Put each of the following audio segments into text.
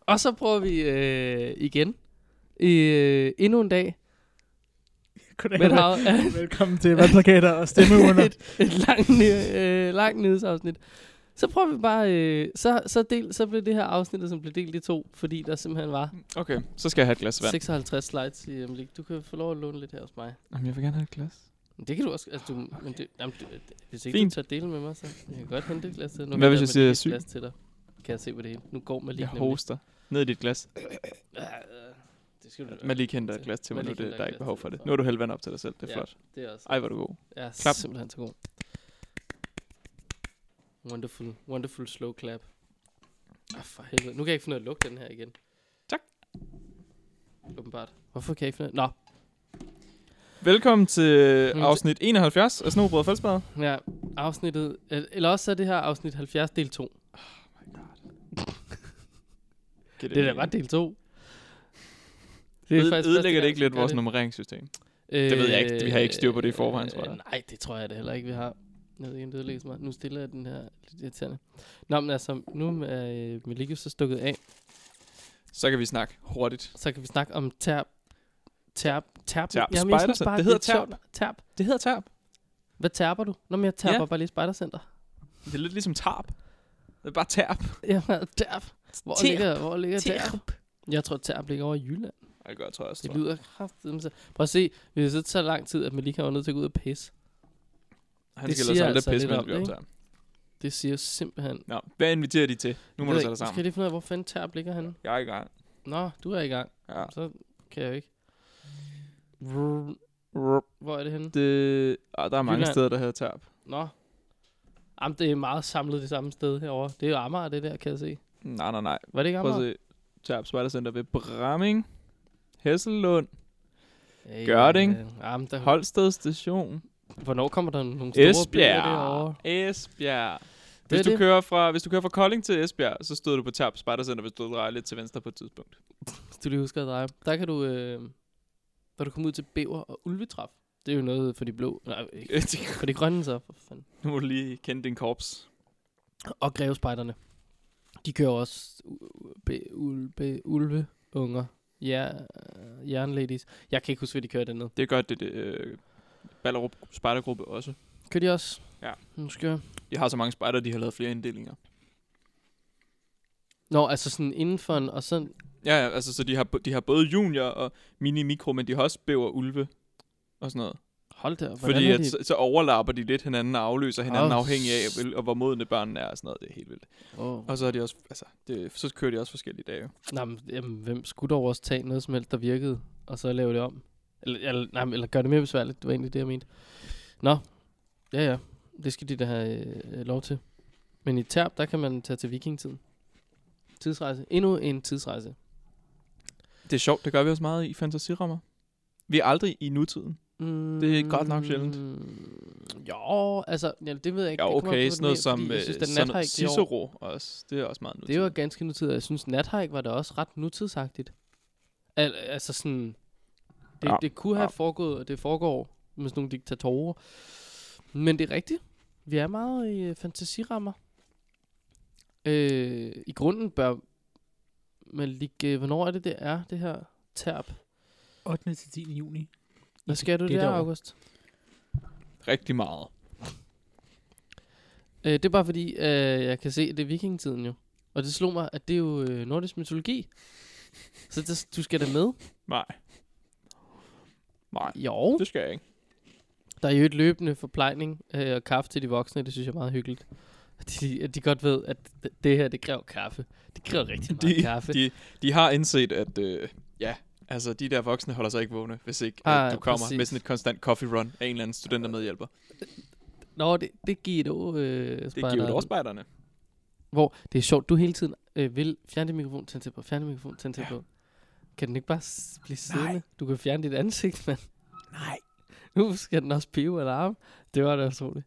Og så prøver vi øh, igen. I, øh, endnu en dag. Goddag, Men vel- hav, velkommen til valgplakater og stemmeurner. et, et langt, ny- øh, langt nyhedsafsnit. Så prøver vi bare... Øh, så, så, del, så blev det her afsnittet, som blev delt i to, fordi der simpelthen var Okay, så skal jeg have et glas vand. 56 slides i øjeblik. Du kan få lov at låne lidt her hos mig. Jamen, jeg vil gerne have et glas. Men det kan du også... Altså, du, okay. men det, jamen, du, hvis ikke Fint. Fint. du tager dele med mig, så jeg kan godt hente et glas til dig. Nu Hvad kan hvis jeg med siger, jeg et er syg? glas til dig. Kan jeg se på det hele. Nu går man lige Jeg hoster ned i dit glas. øh, Det skal du da. Man lige henter et glas til mig nu, Malik henter det, et der er ikke glas behov til for dig, det. så. Nu har du hældt vand op til dig selv, det er Ja. flot. Det er også. Ej, hvor er du god. Ja, Klap. simpelthen så god. Wonderful, wonderful slow clap. Ah, for helvede. Nu kan jeg ikke finde ud af at lukke den her igen. Tak. Åbenbart. Hvorfor kan jeg ikke finde ud af... Velkommen til Mm. afsnit 71 af Snobrød og Fældsbad. Nå, ja, afsnittet... el- Eller også så er det her afsnit 70 del 2. Det er da godt del 2. Det første ødelægger gang, det ikke lidt vi gør vores det. nummereringssystem? Det ved jeg ikke. Vi har ikke styr på det i forvejen, tror jeg. Øh, Nej, det tror jeg da heller ikke, vi har. Jeg ved ikke, om det ødelægger så meget. Nu stiller jeg den her lidt irriterende. Nå, men altså, nu er øh, Malik jo så stukket af. Så kan vi snakke hurtigt. Så kan vi snakke om terp. Terp. Terp. Terp. jeg Spejdercenter. synes bare, Det hedder er sjovt. Terp. Det hedder tarp. Hvad terper du? Nå, men jeg terper Ja. ja. bare lige spejdercenter. Det er lidt ligesom tarp. Det er bare tarp. Jeg er terp. Hvor Terp. ligger, hvor ligger terp? Jeg tror, terp ligger over i Jylland. Det gør jeg, tror jeg også, Det tror jeg. lyder kraftigt. Prøv at se, vi har siddet så lang tid, at Malika var nødt til at gå ud og pisse. Han det skal lade siger sig lidt altså pisse, lidt mens om vi det, optager. Det siger simpelthen... Nå, hvad inviterer de til? Nu må Jeg ved ikke, du tage dig Skal jeg sammen. lige finde ud af, hvor fanden terp ligger henne? Jeg er i gang. Nå, du er i gang. Ja. Så kan jeg jo ikke. Hvor er det henne? Det, ah, der er mange Jylland. steder, der hedder tarp. Nå. Jamen, det er meget samlet det samme sted herover. Det er jo Amager, det der, kan jeg se. Nej, nej, nej. Var det ikke Prøv at Amager? se. Tarp Spejdercenter ved Bramming. Hessellund. Hey, Gørding. øh, Jamen, der, Hold. Holsted Station. Hvornår kommer der nogle store byer derovre? Esbjerg. Esbjerg. Hvis er du, det. kører fra, hvis du kører fra Kolding til Esbjerg, så stod du på Tarp Spejdercenter, hvis du drejer lidt til venstre på et tidspunkt. Hvis du lige husker at dreje. Der kan du, øh, når du kommer ud til Bæver og Ulvetraf. Det er jo noget for de blå. Nej, ikke. for de grønne så. For fanden. nu må du lige kende din korps. Og grevespejderne. De kører også u- be- ulve, ulve unger. Ja, øh, jernladies. Jeg kan ikke huske, hvad de kører dernede. Det gør det, det øh, Ballerup Spejdergruppe også. Kører de også? Ja. Nu skal jeg. De har så mange spejder, de har lavet flere inddelinger. Nå, altså sådan indenfor, en- og sådan... Ja, ja, altså så de har, bo- de har både junior og mini-mikro, men de har også bæver ulve og sådan noget. Hold da, op, hvordan Fordi er at, de? så, så overlapper de lidt hinanden og afløser hinanden Åh, oh, afhængig af, s- hvil- og hvor modne børnene er og sådan noget. Det er helt vildt. Åh. Og så, er de også, altså, det, så kører de også forskellige dage. jo. Nej, men, jamen, hvem skulle dog også tage noget som helst, der virkede, og så lave det om? Eller, eller, nej, men- eller gøre det mere besværligt, det var egentlig det, jeg mente. Nå, ja ja, det skal de da have øh, øh, lov til. Men i Terp, der kan man tage til vikingtiden. Tidsrejse. Endnu en tidsrejse. Det er sjovt, det gør vi også meget i fantasirammer. Vi er aldrig i nutiden. Mm, Det er godt nok sjældent. Jo, altså, ja, det ved jeg ikke. Ja, Det kommer an på, hvad okay, du sådan noget mener, som fordi jeg synes, øh, den sådan noget nathike i år- Cicero også. Det er også meget nutid. Det var ganske nutidigt. og Jeg synes, nathike var da også ret nutidsagtigt. Al- altså sådan... Det, Ja, ja. det kunne have ja. foregået, og det foregår med sådan nogle diktatorer. Men det er rigtigt. Vi er meget i øh, fantasirammer. Øh, I grunden bør man ligge... Hvornår er det, det er, det her terp? 8. til 10. juni. Hvad skal du det der, år. August? Rigtig meget. Øh, det er bare fordi, øh, jeg kan se, at det er vikingetiden jo. Og det slog mig, at det er jo øh, nordisk mytologi. Så det, du skal da med. Nej. Nej, Jo. det skal jeg ikke. Der er jo et løbende forplejning øh, og kaffe til de voksne, det synes jeg er meget hyggeligt. At de, at de godt ved, at d- det her, det kræver kaffe. Det kræver rigtig meget De- kaffe. De, de har indset, at øh, ja, altså de der voksne holder sig ikke vågne, hvis ikke Ah, at du kommer præcis. med sådan et konstant coffee run af en eller anden student, der medhjælper. Nå, det, det giver du, øh, Det giver jo også spejderne. Hvor det er sjovt, du hele tiden øh, vil fjerne din mikrofon, tænde til på, fjerne din mikrofon, tænde til på. Kan den ikke bare s- blive siddende? Nej. Du kan fjerne dit ansigt, mand. Nej. Nu skal den også pive alarm. Det var da utroligt.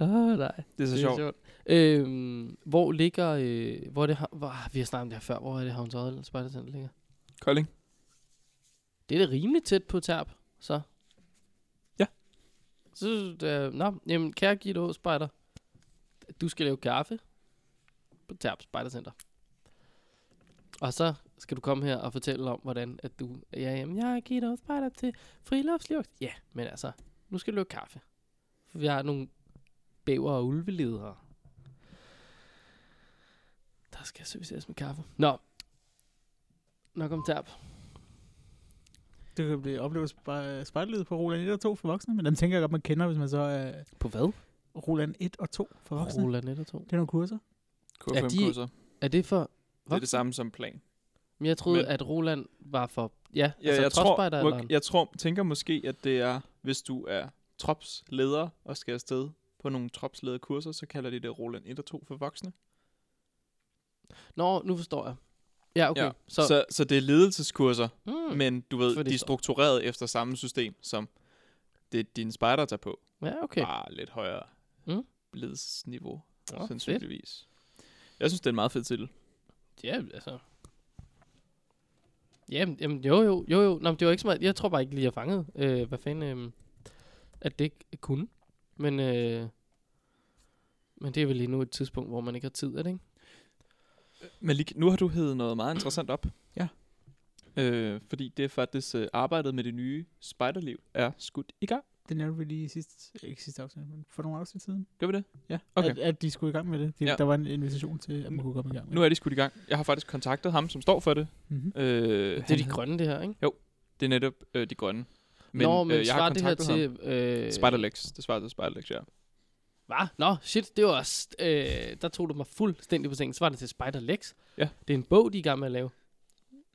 Åh, oh, nej. Det er Det så er sjovt. sjovt. Øhm, hvor ligger, øh, hvor er det, hav- hvor, ah, vi har snakket om det her før, hvor er det Havns Odde Spejdercenter ligger? Kolding. Det er da rimelig tæt på Terp, så. Ja. Så, øh, nå, jamen, kære Gitte Spejder, du skal lave kaffe på Terp Spejdercenter. Og så skal du komme her og fortælle om, hvordan at du... Ja, jamen, jeg giver dig også til friluftsliv. Ja, men altså, nu skal du have kaffe. For vi har nogle bæver og ulveledere. Der skal serviceres med kaffe. Nå. Nok om tab. Det kan blive oplevet sp- spejlet på Roland 1 og 2 for voksne, men dem tænker jeg godt, man kender, hvis man så er På hvad? Roland 1 og 2 for voksne. Roland 1 og 2. Det er nogle kurser. Er de- KFM-kurser. Er det for... Det er det samme som plan. Men jeg troede, Men- at Roland var for... Ja, Ja, altså jeg, tror, tropspejder, må, eller- jeg tror, tænker måske, at det er, hvis du er tropsleder og skal afsted på nogle tropslederkurser, så kalder de det Roland 1 og 2 for voksne. Nå, nu forstår jeg. Ja, okay. Ja, Ja. Så, Så, så, så det er ledelseskurser, mm, mm. men du ved, Fordi de er så- struktureret efter samme system, som det er dine spejder tager på. ja, okay. Okay. Bare lidt højere Mm. mm. ledelsesniveau, Nå, ja, fedt. sandsynligvis. Jeg synes, det er en meget fed titel. Ja, altså... Jamen, jamen jo, jo, jo, jo. Nå, men det var ikke så meget. Jeg tror bare ikke lige, jeg fangede, øh, hvad fanden, øh, at det ikke kunne. Men, øh, men det er vel lige nu et tidspunkt, hvor man ikke har tid, er det ikke? Malik, nu har du hævet noget meget interessant op. Ja. Øh, fordi det er faktisk øh, arbejdet med det nye spejderliv er skudt i gang. Det nævnte vi lige i sidste, ikke sidste afsnit, men for nogle afsnit siden. Gør vi det? Ja, okay. At, at de skulle i gang med det. De, Ja. ja. Der var en invitation til, at man kunne komme i gang med Nu er de skudt i gang. Jeg har faktisk kontaktet ham, som står for det. det. Mm-hmm. Øh, det, Det er de grønne, det her, ikke? det er netop øh, de grønne. Men, Nå, men øh, jeg har svarer det her kontaktet ham. til... Øh, Mm. Spiderlex. Det svarer til Spiderlex, ja. Hvad? Nå, shit, det var også... Øh, der tog du mig fuldstændig på sengen. Svarer det til Spider Lex? Ja. Det er en bog, de er i gang med at lave.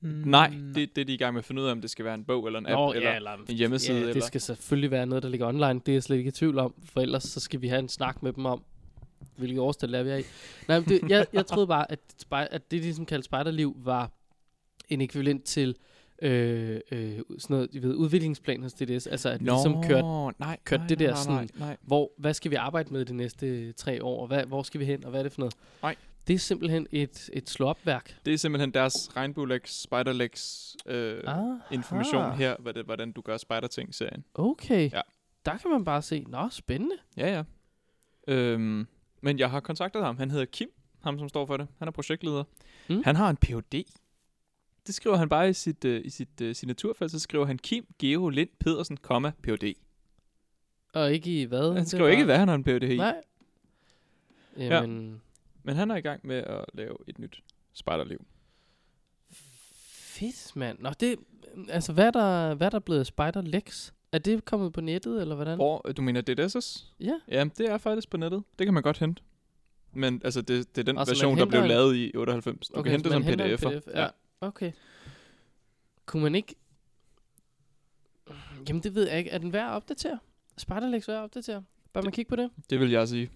Mm, Mm, Nej, det, det er de i gang med at finde ud af, om det skal være en bog eller en app Nå, eller ja, eller en hjemmeside. Ja, eller... det skal selvfølgelig være noget, der ligger online. Det er jeg slet ikke i tvivl om, for ellers så skal vi have en snak med dem om, hvilket årstal er vi er i. Nej, men det, jeg, jeg troede bare, at, spej- at det, de som kaldte spejderliv, var en ekvivalent til øh, øh, sådan noget, I ved, udviklingsplan hos DDS. Altså, at vi ligesom kørte, nej, kørte nej, det der nej, sådan- Nej, nej. hvor, hvad skal vi arbejde med de næste tre år, og hvad, hvor skal vi hen, og hvad er det for noget? Nej. Det er simpelthen et, et slå-op-værk. Det er simpelthen deres Regnbuelex, Spiderlex øh, Ah, information her, hvad det, hvordan du gør Spider-Ting-serien. Okay. Ja. Der kan man bare se, nå, spændende. Ja, ja. Øhm, men jeg har kontaktet ham. Han hedder Kim, ham som står for det. Han er projektleder. Mm. Mm. Han har en Ph.D. Det skriver han bare i sit, øh, i sit øh, signaturfelt, så skriver han Kim Geo Lind Pedersen, komma, Ph.D. Og ikke i hvad? Han det skriver var. ikke, hvad han har en Ph.D. i. Nej. Jamen, ja. Men han er i gang med at lave et nyt spejderliv. fedt mand. Nå, det, altså, hvad er der, hvad er der blevet af Spider Lex? Er det kommet på nettet, eller hvordan? Hvor, øh, du mener DDS's? Ja. Ja, det er faktisk på nettet. Det kan man godt hente. Men altså, det, det er den Altså, altså, man version, der henter blev en- lavet i 98. Du okay, kan hente det så som man henter en pdf'er. PDF. Ja. ja. okay. Kunne man ikke... Jamen, det ved jeg ikke. Er den værd at opdatere? Spider Lex værd at opdatere? Bør man kigge på det? Det vil jeg sige.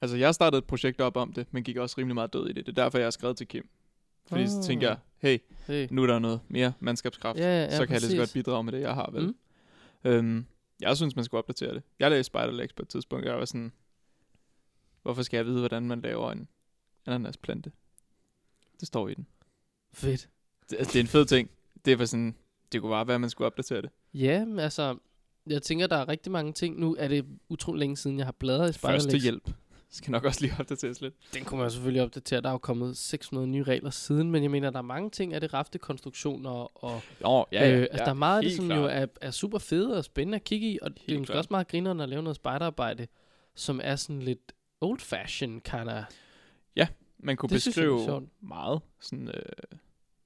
Altså, jeg startede et projekt op om det, men gik også rimelig meget død i det. Det er derfor, jeg har skrevet til Kim. Fordi oh. så Ah. tænkte jeg, hey, Hey. nu er der noget mere mandskabskraft. Ja, ja, ja, så kan jeg lige så godt præcis. bidrage med det, jeg har, vel? Mm. Mm. Øhm, jeg synes, man skulle opdatere det. Jeg lavede Spiderlegs på et tidspunkt, og jeg var sådan, hvorfor skal jeg vide, hvordan man laver en ananasplante? Det står i den. Fedt. Det, altså, det er en fed ting. Det var sådan, det kunne bare være, at man skulle opdatere det. Ja, men altså... Jeg tænker, der er rigtig mange ting. Nu er det utrolig længe siden, jeg har bladret i Spider Første Lex. hjælp. Skal nok også lige opdateres lidt. Den kunne man selvfølgelig opdatere. Der er jo kommet 600 nye regler siden, men jeg mener, der er mange ting af det raftekonstruktioner og Nå, ja, ja, øh, altså, der er meget af det, helt som klart. jo er, er super fede og spændende at kigge i, og det er Helt måske klart. også meget grineren at lave noget spejderarbejde, som er sådan lidt old fashion kind of. man kunne Det synes jeg er beskrive sjovt. meget sådan øh,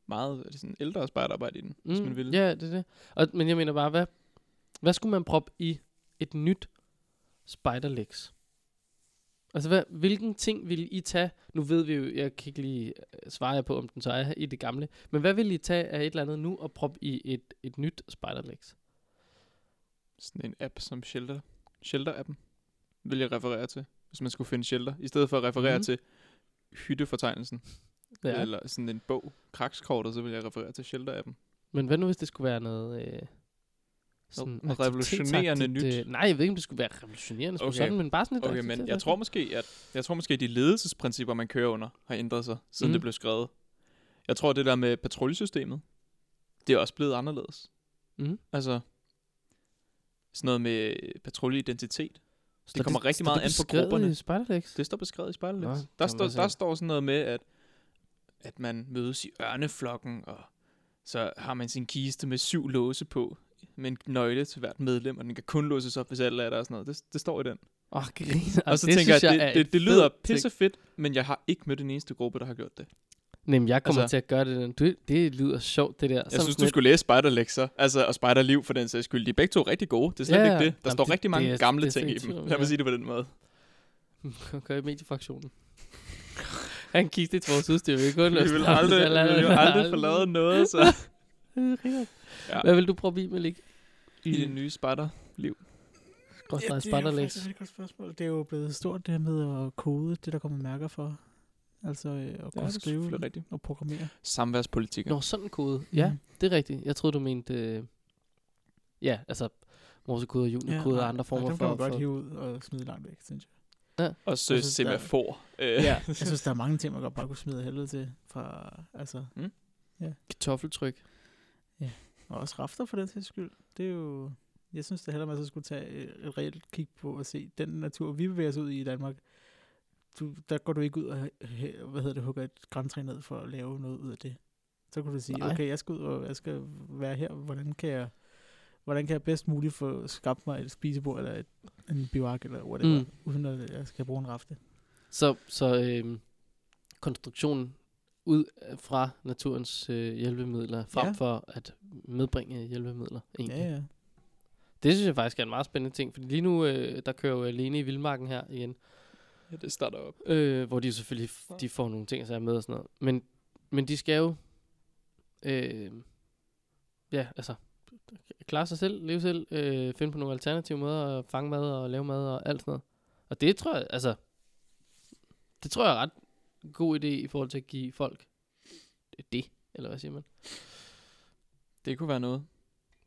meget øh, sådan ældre spejderarbejde i den, mm, hvis man ville. ja, det er det. Og, men jeg mener bare, hvad, hvad skulle man proppe i et nyt spejderlex? Altså, hvad, hvilken ting vil I tage? Nu ved vi jo, jeg kan ikke lige øh, svare jer på, om den så er i det gamle. Men hvad vil I tage af et eller andet nu og proppe i et, et nyt spejderlex? Sådan en app som Shelter. Shelter-appen vil jeg referere til, hvis man skulle finde Shelter. I stedet for at referere Mhm. mm. til hyttefortegnelsen, ja. Ja. eller sådan en bog, krakskortet, så vil jeg referere til Shelter-appen. Men hvad nu, hvis det skulle være noget... Øh, sådan noget revolutionerende aktivitetsagtigt, nyt? Øh, nej, jeg ved ikke, om det skulle være revolutionerende, okay. Okay. sådan, men bare sådan et... Okay, men jeg tror måske, at jeg tror måske, at de ledelsesprincipper, man kører under, har ændret sig, siden Mhm. mm. det blev skrevet. Jeg tror, det der med patruljesystemet, det er også blevet anderledes. Mhm. Altså, sådan noget med patruljeidentitet. Står kommer rigtig står meget an på beskrevet grupperne. i Spiderlex? Det står beskrevet i spejlet. Nå, Der, kan man står, bare se. der står sådan noget med, at at man mødes i ørneflokken, og så har man sin kiste med syv låse på, med en nøgle til hvert medlem, og den kan kun låses op, hvis alle er der og sådan noget. Det, det står i den. Åh, griner. og så det tænker synes jeg, er at det, en det, det fed lyder ting. pisse fedt, men jeg har ikke mødt den eneste gruppe, der har gjort det. Jamen, jeg kommer Altså- altså, til at gøre det. Du, det lyder sjovt, det der. Jeg synes, du skulle læse spejderlekser, altså, og spejderliv for den sags skyld. De er begge to rigtig gode. Det er slet Ja, ja, ja. ikke det. Der Jamen, står det- rigtig mange det er- gamle det er ting slet i ikke dem. tvivl om, Lad mig ja. sige det på den måde. skulle... Gør i mediefraktionen. Han kiggede til vores udstyr. Vi kunne kun Vi løse vil ham, aldrig, så lad- vi vil jo lad- aldrig få lavet noget, så Ja. Hvad vil du prøve i, Malik? i det nye spejderliv. Godt, der er det er jo faktisk spatterlægs. et rigtig godt spørgsmål. Det er jo blevet stort det her med at kode det, der kommer mærker for. Altså øh, at kunne det er skrive selvfølgelig rigtigt. og programmere. Samværspolitikker. Nå, sådan en kode. Ja, Mhm. det er rigtigt. Jeg troede, du mente... Øh... Ja, altså morsekode og junikoder og andre former nej, dem for... kan man godt for... hive ud og smide langt væk, synes jeg. Og så Jeg synes, der- semafor. Øh, Ja, jeg synes, der er mange ting, man godt bare kunne smide af helvede til. Fra, altså, Kartoffeltryk. og også rafter for den til skyld. Det er jo... Jeg synes det hellere, man så skulle tage øh, et reelt kig på og se den natur, vi bevæger os ud i i Danmark. Du, der går du ikke ud og hæ- hvad hedder det, hugger et græntræ ned for at lave noget ud af det. Så kunne du sige, Nej. Nej. okay, jeg skal ud og jeg skal være her. Hvordan kan jeg, hvordan kan jeg bedst muligt få skabt mig et spisebord eller et, en bivark eller whatever, Mm. mm. uden at jeg skal bruge en rafte? Så, så øh, konstruktionen ud øh, fra naturens øh, hjælpemidler, frem ja. Ja. for at medbringe hjælpemidler. Egentlig. Ja, ja. Det synes jeg faktisk er en meget spændende ting, fordi lige nu, øh, der kører jo alene i Vildmarken her igen, ja, det starter op. øh, hvor de jo selvfølgelig f- de får nogle ting at sige med og sådan noget. Men, men de skal jo, øh, ja, altså, klare sig selv, leve selv, øh, finde på nogle alternative måder at fange mad og lave mad og alt sådan noget. Og det tror jeg, altså, det tror jeg er ret god idé i forhold til at give folk det, eller hvad siger man? Det kunne være noget.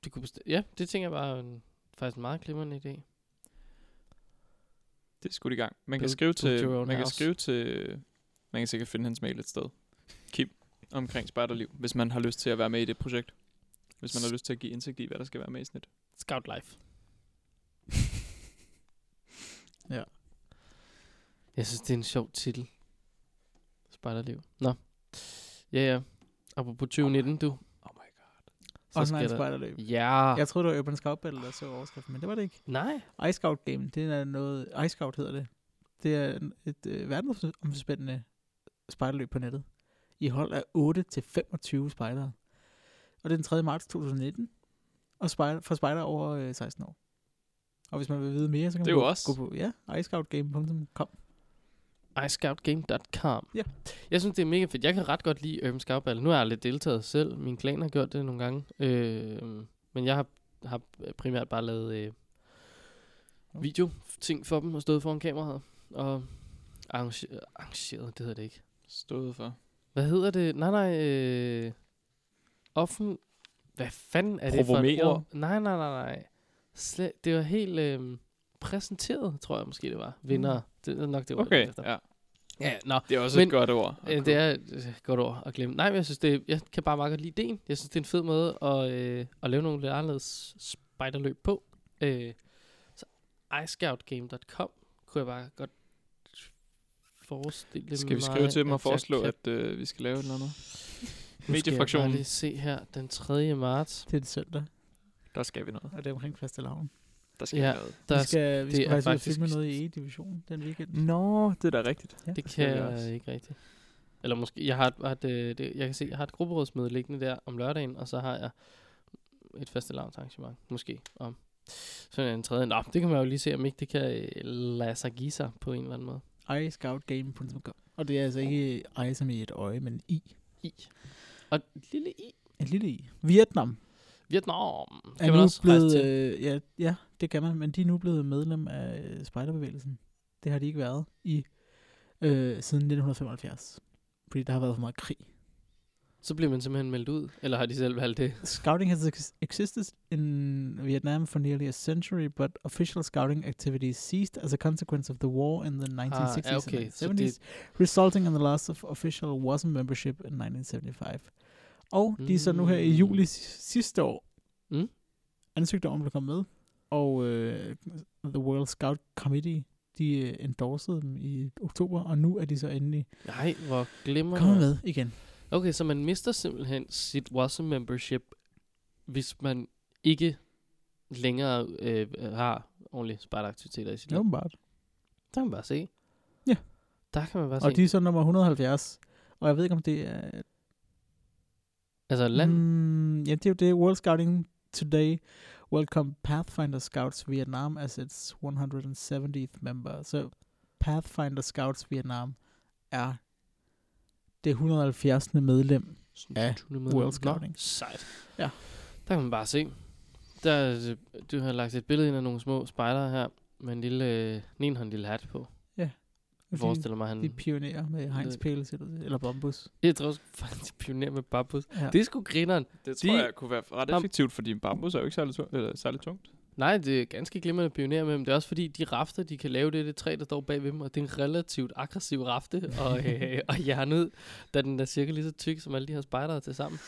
Det kunne besti- ja, det tænker jeg bare er en, faktisk en meget glimrende idé. Det er skudt i gang. Man kan Build- skrive build til, your own man kan house. skrive til, man kan sikkert finde hans mail et sted. Kim, omkring spejderliv, hvis man har lyst til at være med i det projekt. Hvis man har lyst til at give indsigt i, hvad der skal være med i sådan et. Scout Life. Ja. Jeg synes, det er en sjov titel. Spejderliv. Nå. Ja, ja. Apropos 2019, du. Oh my god. Så Også skal en der- spejderløb. Ja. Jeg troede, det var Urban Scout Battle, der så overskriften, men det var det ikke. Nej. Ice Scout Game, det er noget, Ice Scout hedder det. Det er en- et øh, verdensomspændende spejderløb på nettet. I hold af 8-25 spejdere. Og det er den 3. marts 2019. Og spejder, for spejdere over øh, 16 år. Og hvis man vil vide mere, så kan Det er man jo gå, os. gå på ja, iceoutgame.com. iScoutGame.com. Ja. Jeg synes, det er mega fedt. Jeg kan ret godt lide Urban Scout Battle. Nu har jeg lidt deltaget selv. Min klan har gjort det nogle gange. Øh, men jeg har, har primært bare lavet øh, video ting for dem og stået foran kameraet. Og arrangeret, arrangeret, det hedder det ikke. Stået for. Hvad hedder det? Nej, nej. Øh, offen... Hvad fanden er det for et Provokeret? ord? Nej, nej, nej, nej. Sle- det var helt øh, præsenteret, tror jeg måske det var. Vinder. Mm. Det er nok det ord, jeg Okay, ledte efter. ja. Ja, nå. Det er også Men- et godt ord. at Øh, det er et øh, godt ord at glemme. Nej, men jeg synes, det, jeg kan bare meget godt lide ideen. Jeg synes, det er en fed måde at, øh, at lave nogle lidt anderledes spejderløb på. Øh, så iScoutGame.com kunne jeg bare godt forestille kunne- Skal vi mig, skrive til dem at og jeg foreslå, kan at øh, vi skal lave et eller Nu andet? skal jeg bare Mediefraktionen. lige se her, den 3. marts. Det er det søndag, Der skal vi noget. og det er omkring faste lavn. Der skal Ja. vi noget. Der Vi skal, vi det skal er faktisk, faktisk- faktisk ud og filme noget i E-divisionen den weekend. Nå, det er da rigtigt. Ja. Det skal kan vi jeg også. ikke rigtigt. Eller måske, jeg har, et, har et, øh, det, jeg kan se, jeg har et grupperådsmøde liggende der om lørdagen, og så har jeg et faste arrangement, måske om sådan en tredje. Nå, det kan man jo lige se, om ikke det kan øh, lade sig give sig på en eller anden måde. iScoutgame.com. Og det er altså ikke i som i et øje, men i. I. Og et lille i. En lille i. Vietnam Vietnam. er Mm. Kan man nu også rejse blevet, til. øh, ja, ja, det kan man, men de er nu blevet medlem af øh, spejderbevægelsen. Det har de ikke været i øh, siden 1975. Fordi der har været for meget krig. Så bliver man simpelthen meldt ud. Eller har de selv valgt det? Scouting has ex- existed in Vietnam for nearly a century, but official scouting activities ceased as a consequence of the war in the 1960s Ah, okay, and så det- 70s, resulting in the loss of official WASM membership in 1975. Og de er så nu her i Mm. juli si- sidste år Mm. ansøgte om at komme med, og øh, The World Scout Committee, de de øh, endorsede dem i oktober, og nu er de så endelig Nej, hvor glemmer kommet med igen. Okay, så man mister simpelthen sit WhatsApp membership, hvis man ikke længere øh, har ordentlige spejderaktiviteter i sit Ja. liv. Åbenbart. Der kan man bare se. Ja. Der kan man bare Og se. de er så nummer 170. Og jeg ved ikke, om det er... altså land. Mm. Mm, ja, det er jo det. World Scouting Today welcome Pathfinder Scouts Vietnam as its 170th member. Så Pathfinder Scouts Vietnam er det 170. medlem. Ja, World Scouting. Sejt. Ja. Der kan man bare se. Der, øh, du har lagt et billede ind af nogle små spejdere her, med en lille, øh, den ene har en lille hat på. Jeg forestiller mig, han... De pionerer med hegnspæle, ser du det? Eller bombus. Jeg tror sgu faktisk, de pionerer med bambus. Ja. Det er sgu grineren. Det De- tror jeg kunne være ret Bam- effektivt, fordi en bambus er jo ikke særlig, tung, eller særlig tungt. Nej, det er ganske glimrende at pionere med dem. Det er også fordi, de rafter, de kan lave det, det træ, der står bag ved dem, og det er en relativt aggressiv rafte og, øh, og hjernet, da den er cirka lige så tyk, som alle de her spejdere til sammen.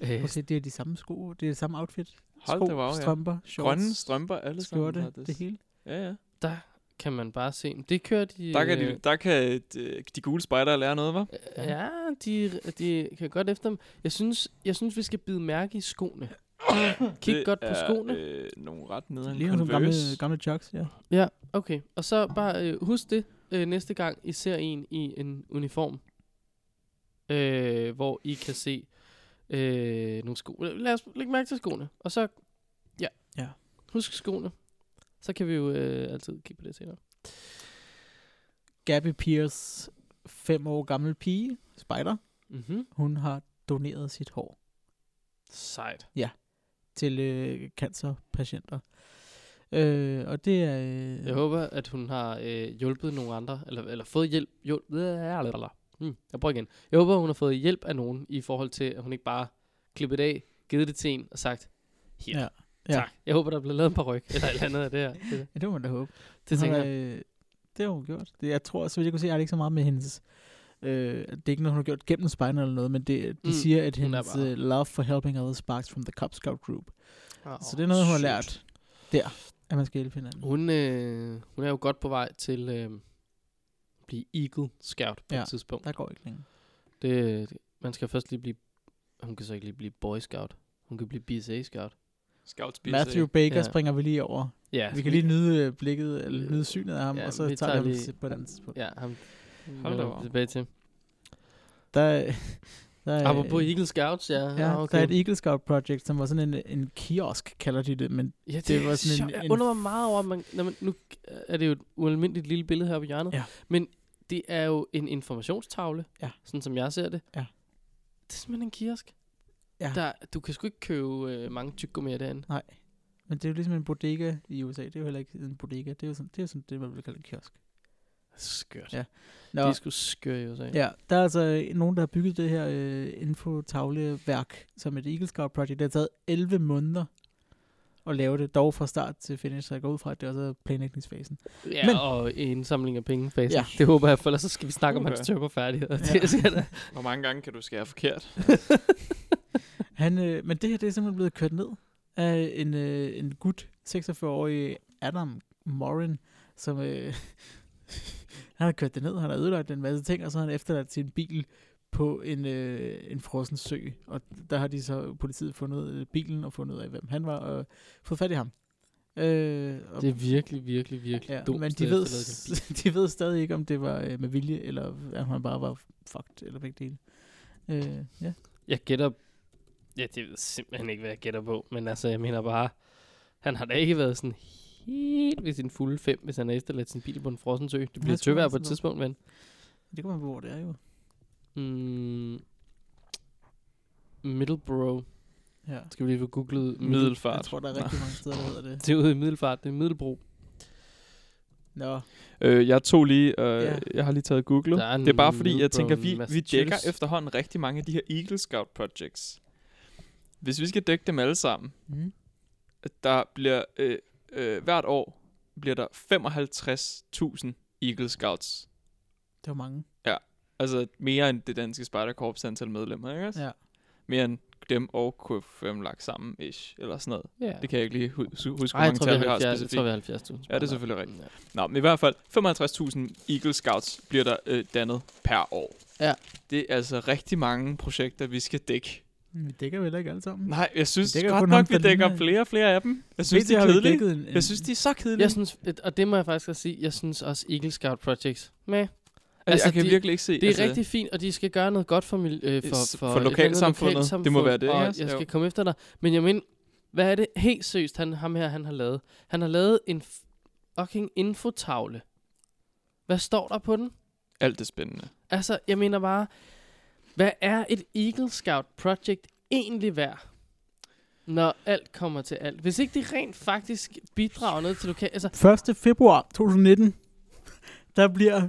Øh, Okay, det er de samme sko, det er det samme outfit. Hold sko, da wow, ja. strømper, shorts, Grønne strømper, alle skjorte, sammen. har det hele. Ja, ja. der kan man bare se. Men Det kører de... Der kan, øh, de, der kan de, de gule spejdere lære noget, hva'? Ja, de, de kan godt efter dem. Jeg synes, jeg synes, vi skal bide mærke i skoene. Kig Det godt på er, skoene. Øh, nogle ret Det nederen ligner nogle gamle, Converse. gamle chucks, ja. Ja, okay. Og så bare øh, husk det øh, næste gang, I ser en i en uniform, øh, hvor I kan se øh, nogle sko. Lad os lægge mærke til skoene. Og så, ja. Ja. Husk skoene. Så kan vi jo øh, altid kigge på det senere. Gabby Pierce, fem år gammel pige, spider, Mhm. hun har doneret sit hår Sejt. til øh, cancerpatienter. Øh, og det er... Øh, Jeg håber, at hun har øh, hjulpet nogle andre, eller, eller fået hjælp. hjælp. Hmm, jeg prøver igen. Jeg håber, hun har fået hjælp af nogen, i forhold til, at hun ikke bare klippet af, givet det til en og sagt, her, Ja, ja. ja. tak. Jeg håber, der bliver lavet en par ryg, eller et eller andet af det her. Det, Ja, det må man da håbe. det Hun tænker har, jeg. øh, Det har hun gjort. Det, jeg tror, så vidt jeg kunne se, er det ikke så meget med hendes... Øh, det er ikke noget, hun har gjort gennem spejlen eller noget, men det, de Mm, mm, siger, at hun er hendes bare- øh, love for helping others sparks from the Cub Scout Group. Oh, Så det er noget, hun har lært der, at man skal hjælpe hinanden. Hun, øh, hun er jo godt på vej til øh, at blive Eagle Scout på ja. Ja. et tidspunkt. Der går ikke længe. Det, det- man skal først lige blive, hun kan så ikke lige blive Boy Scout. Hun kan blive BSA Scout. Scouts BC. Matthew Baker Ja. ja. springer vi lige over. Ja, Vi kan lige nyde øh, blikket, eller Altså, Øh, nyde synet af ham, ja, ja, og så vi tager tager, vi ham lige- lige... på et andet tidspunkt. Ja. Ja, ham Hold da vender vi op. tilbage til. Øh, Der, der, er- Apropos Ah, Eagle Scouts, ja. Ja, okay. der er et Eagle Scout Project, som var sådan en, en kiosk, kalder de det, men ja, det, det det var var sådan en- sådan en, Jeg en- undrer mig meget over, at man, når man, nu er det jo et ualmindeligt lille billede her på hjørnet, Ja. men det er jo en informationstavle, Ja. sådan som jeg ser det. Ja. Det er simpelthen en kiosk. Ja. Der, du kan sgu ikke købe øh, mange tyggegummier derinde. men det er jo ligesom en bodega i USA. Det er jo heller ikke en bodega. Det er jo sådan det, er jo sådan, det man vil kalde en kiosk. Skørt. Ja. Ja. Det Nå, er sgu skørt i USA. Ja, der er altså øh, nogen, der har bygget det her øh, infotavleværk som et Eagle Scout Project. Det har taget 11 måneder at lave det, dog fra start til finish, så jeg går ud fra, at det også er planlægningsfasen. Ja, Men- og en samling af penge, fasen. Ja. Ja. Det håber jeg, for ellers så skal vi snakke om Uha. hans tømmerfærdigheder. Ja. Det skal der. Hvor mange gange kan du skære Mm-hmm. forkert? Han, øh, men det her, det er simpelthen blevet kørt ned af en, øh, en gut, 46-årig Adam Morin, som øh, han har kørt det ned, han har ødelagt en masse ting, og så har han efterladt sin bil på en, øh, en frossen sø. Og der har de så politiet fundet øh, bilen og fundet ud af, hvem han var, og fået fat i ham. Øh, og, Det er virkelig, virkelig, virkelig ja, dumt. men at de ved, efterlade sin bil. de ved stadig ikke, om det var øh, med vilje, eller om han bare var fucked, eller begge dele. Øh, ja. Jeg gætter... Ja, det ved jeg simpelthen ikke, hvad jeg gætter på. Men altså, jeg mener bare... Han har da ikke været sådan helt ved sin fulde fem, hvis han har efterladt sin bil på en frossen sø. Det bliver tror tøvær jeg på et sådan tidspunkt, men... Det kan man hvor det er jo. Mm, Middleborough. Ja. Skal vi lige få googlet Middel... Jeg Middelfart. tror, der er rigtig mange steder, der hedder det. Det er ude i Middelfart, det er Middelbro. Nå, Øh, jeg tog lige, øh, Ja. jeg har lige taget Google. Der er Det er bare fordi, jeg Middleborough, tænker, vi, vi dækker Massachusetts. efterhånden rigtig mange af de her Eagle Scout projects. Hvis vi skal dække dem alle sammen, mm. der bliver øh, øh, hvert år bliver der 55.000 Eagle Scouts. det var mange. Altså mere end det danske spejderkorps antal medlemmer, ikke også? Ja. Mere end dem og KFM lagt sammen, ish, eller sådan noget. Ja. Det kan jeg ikke lige hu- su- huske, Ej, hvor jeg mange tror, vi tal vi har har 70, jeg tror, specifikt. vi har 70.000. Ja, det er spejder. selvfølgelig rigtigt. Ja. Nå, men i hvert fald 55.000 Eagle Scouts bliver der øh, dannet per år. Ja. Det er altså rigtig mange projekter, vi skal dække. Vi dækker vel heller ikke alle sammen. Nej, jeg synes dækker godt kun nok, ham, vi der dækker ligner- flere og flere af dem. Jeg synes, Vigtigt de er har vi kedelige. dækket en- en- Jeg synes, de er så kedelige. Jeg synes, et- og det må jeg faktisk også sige, jeg synes også Eagle Scout Projects, med. altså, altså, jeg kan de- virkelig ikke se... Det er altså, rigtig fint, og de skal gøre noget godt for, mil- øh, for, S- for, for et eller andet lokalsamfundet. Det må være det, og ikke? jeg Jo. skal komme efter dig. Men jeg mener, hvad er det helt seriøst, han, ham her, han har lavet? Han har lavet en f- fucking infotavle. Hvad står der på den? Alt det spændende. Altså, jeg mener bare, hvad er et Eagle Scout Project egentlig værd? Når alt kommer til alt. Hvis ikke det rent faktisk bidrager noget til lokal... Altså, 1. februar 2019, der bliver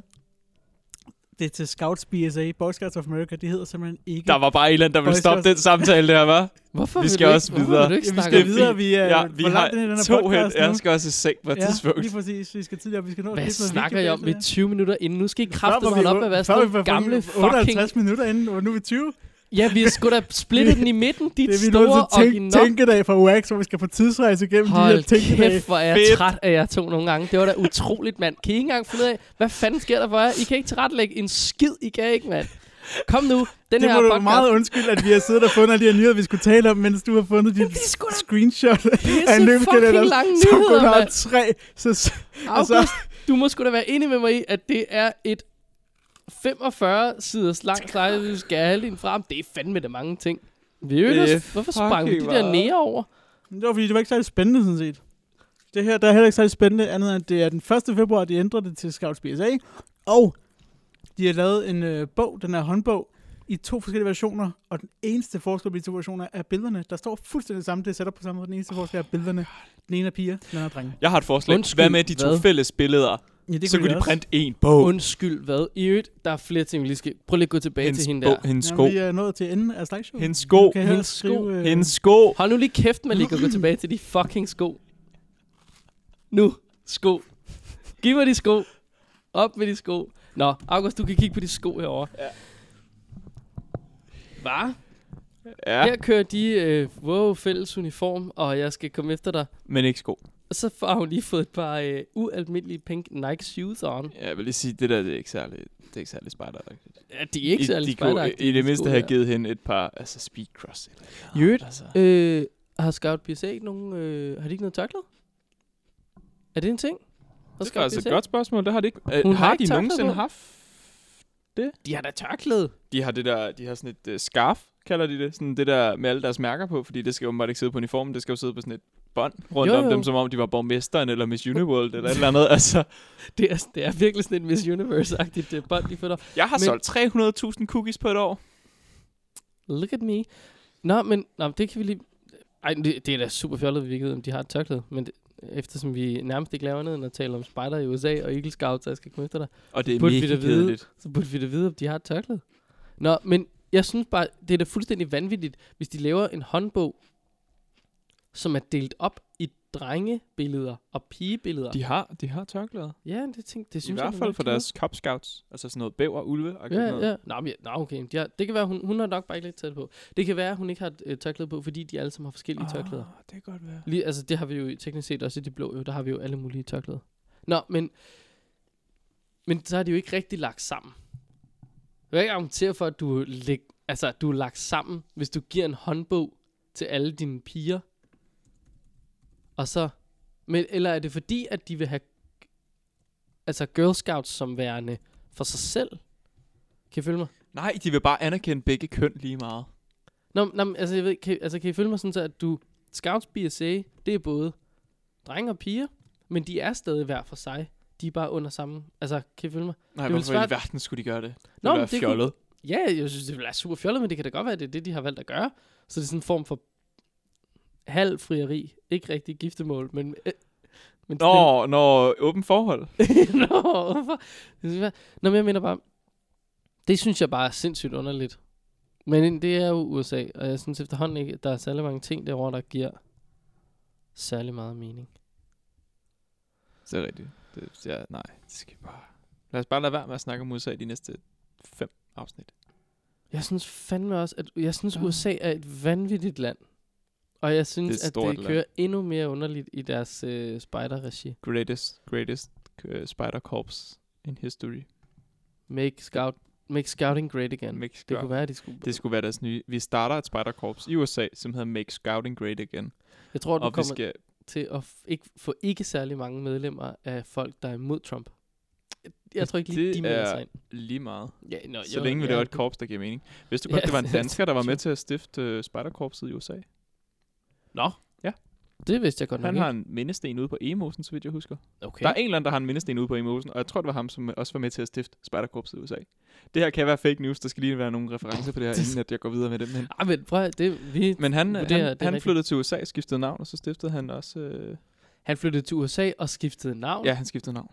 det til Scouts BSA, Boy Scouts of America, det hedder simpelthen ikke. Der var bare en eller anden, der ville Boy stoppe Scouts. den samtale der, var. hvorfor Vi vil skal du også ikke, hvorfor videre. Vil du ikke ja, vi snakke skal om det? videre, vi er Ja, vi hvor har langt er den her to podcast hit. Jeg nu? skal også i seng på et tidspunkt. lige præcis. Vi skal tidligere, vi skal nå at Hvad klippe noget snakker video jeg om? bag det Vi her. er 20 minutter inden. Nu skal I Før var kraftedeme vi holde op otte- med at være før sådan vi var nogle gamle fucking... 58 minutter inden, og nu er vi 20. Ja, vi skulle da splittet den i midten, dit Det er vi nødt store til tænk, original. tænkedag fra UX, hvor vi skal på tidsrejse igennem de her Hold tænkedage. kæft, hvor er jeg Fedt. træt af jer to nogle gange. Det var da utroligt, mand. Kan I ikke engang finde ud af, hvad fanden sker der for jer? I kan ikke tilrettelægge en skid, I kan ikke, mand. Kom nu, den Det her må du podcast. meget undskylde, at vi har siddet og fundet alle de her nyheder, vi skulle tale om, mens du har fundet dit De er sgu da screenshot af en pisse løbekalender, fucking lange som kun nyheder, har mand. tre. Så, altså, August, du må sgu da være enig med mig i, at det er et 45-siders langt slide, hvis du skal have din frem. Det er fandme da mange ting. Vi Det er øvrigt, hvorfor sprang vi de fucking der meget. nære over? det var fordi, det var ikke særlig spændende, sådan set. Det her, der er heller ikke særlig spændende, andet end at det er den 1. februar, de ændrer det til Scouts BSA. Og de har lavet en øh, bog, den er håndbog, i to forskellige versioner, og den eneste forskel på de to versioner er billederne. Der står fuldstændig det samme, det er sat op på samme måde, den eneste forskel er billederne. Den ene er piger, den anden er drenge. Jeg har et forslag. Undskyld, hvad med de to hvad? fælles billeder? Ja, det så vi kunne de også. printe en bog. Undskyld, hvad? I øvrigt, der er flere ting, vi lige skal... Prøv lige at gå tilbage hendes til hende bog, der. hendes sko, Jamen, vi er nået til enden af slagshowet. hendes sko, Du kan hendes hendes sko, skrive, øh, hendes sko. Hold nu lige kæft, man lige gå tilbage til de fucking sko. Nu, sko. Giv mig de sko. Op med de sko. Nå, August, du kan kigge på de sko herovre. Ja. Hva? Ja, Ja. Her kører de, øh, wow, fælles uniform, og jeg skal komme efter dig. men ikke sko. Og så har hun lige fået et par øh, ualmindelige pink Nike shoes on. Ja, Jeg vil lige sige, det der det er ikke særlig, det er ikke særlig spider Ja, de er ikke særlig de kunne, spejderagtige, I det de mindste sko have der. givet hende et par altså speedcross. Eller, I øvrigt, altså. Øh, har Scout PSA ikke nogen... Øh, har de ikke noget tørklæde? Er det en ting? Har Det er altså et godt spørgsmål, det har de ikke. Hun Øh, har har ikke de tørklæde nogensinde på. haft? De har da tørklæde. De har det der, de har sådan et uh, scarf, kalder de det. Sådan det der med alle deres mærker på, fordi det skal jo åbenbart ikke sidde på uniformen, det skal jo sidde på sådan et bånd rundt Jo, jo, jo. jo. om dem, som om de var borgmesteren eller Miss Uniworld eller et eller andet. Altså, Det er, det er virkelig sådan en Miss Universe-agtigt øh, bånd, de føler. jeg har Men- solgt 300.000 cookies på et år. Look at me. Nå, men nå, men det kan vi lige... Ej, det, det er da super fjollet, vi ikke ved, om de har et tørklæde. Men det, eftersom vi nærmest ikke laver andet end at tale om spider i USA og Eagle Scouts, der skal komme efter dig, Og det er Burde vi mega da vide? kedeligt. så burde vi da vide, om de har et tørklæde. Nå, men jeg synes bare, det er da fuldstændig vanvittigt, hvis de laver en håndbog, som er delt op i drengebilleder og pigebilleder. De har, de har tørklæder. Ja, det, tænk, det I synes jeg. hvert man fald ikke for kan. deres Cub Scouts. Altså sådan noget bæver, ulve og Ja, noget. ja. Nå, men, ja, nå okay. De har, det kan være, hun, hun har nok bare ikke lidt tæt på. Det kan være, hun ikke har øh, tørklæde på, fordi de alle sammen har forskellige ah. tørklæder. Ah, det kan godt være. Lige, altså, det har vi jo teknisk set også i de blå, jo, der har vi jo alle mulige tørklæder. Nå, men, men så har de jo ikke rigtig lagt sammen. Jeg vil ikke argumentere for, at du, læg, altså, du er lagt sammen, hvis du giver en håndbog til alle dine piger. Og så, men, eller er det fordi, at de vil have altså Girl Scouts som værende for sig selv? Kan I følge mig? Nej, de vil bare anerkende begge køn lige meget. Nå, men- nå men, altså, jeg ved, kan, altså, kan I følge mig sådan så, at du... Scouts BSA, det er både drenge og piger, men de er stadig hver for sig. De er bare under samme... Altså, kan I følge mig? Nej, Det er vel hvorfor svært- i verden skulle de gøre det? Det Nå, Nå, men være det kunne- fjollet. Ja, jeg synes, det ville være super fjollet, men det kan da godt være, at det er det, de har valgt at gøre. Så det er sådan en form for halv frieri. Ikke rigtig giftemål, men... Øh, men Nå, nå, åben forhold. Nå, hvorfor? Det synes jeg- Nå, men jeg mener bare, det synes jeg bare er sindssygt underligt. Men det er jo USA, og jeg synes efterhånden ikke, at der er særlig mange ting derovre, der giver særlig meget mening. Det er rigtigt. Det, ja, nej, det skal vi bare... Lad os bare lade være med at snakke om USA de næste fem afsnit. Jeg synes fandme også, at jeg synes, Ja. USA er et vanvittigt land. Og jeg synes, Det er et at stort det land. kører endnu mere underligt i deres øh, spider-regi. Greatest, greatest uh, spider corps in history. Make, scout, make scouting great again. Make det scout- kunne være, at de skulle... det skulle være deres nye... Vi starter et spider corps i USA, som hedder Make Scouting Great Again. jeg tror, Og, at du og vi kommer skal... til at f- ikke, få ikke særlig mange medlemmer af folk, der er imod Trump. Jeg tror ikke lige, Det de melder er- sig ind. Lige meget. Ja, nå, Så længe vi laver et korps, der giver mening. Vidste du Ja, godt, det var en det- dansker, der var med til at stifte uh, spejderkorpset i USA? Nå, Det vidste jeg godt han nok har en mindesten ude på Emosen, så vidt jeg husker. ikke. Okay. Okay. Der er en eller anden, der har en mindesten ude på Emosen, og jeg tror, det var ham, som også var med til at stifte spejderkorpset i USA. Det her kan være fake news, der skal lige være nogle referencer på det her, inden at jeg går videre med det. Men, Ah, men prøv, at- det, vi, men han, Vurderer, det er han, han rigtigt. flyttede til USA, skiftede navn, og så stiftede han også... Øh, han flyttede til USA og skiftede navn. ja, han skiftede navn.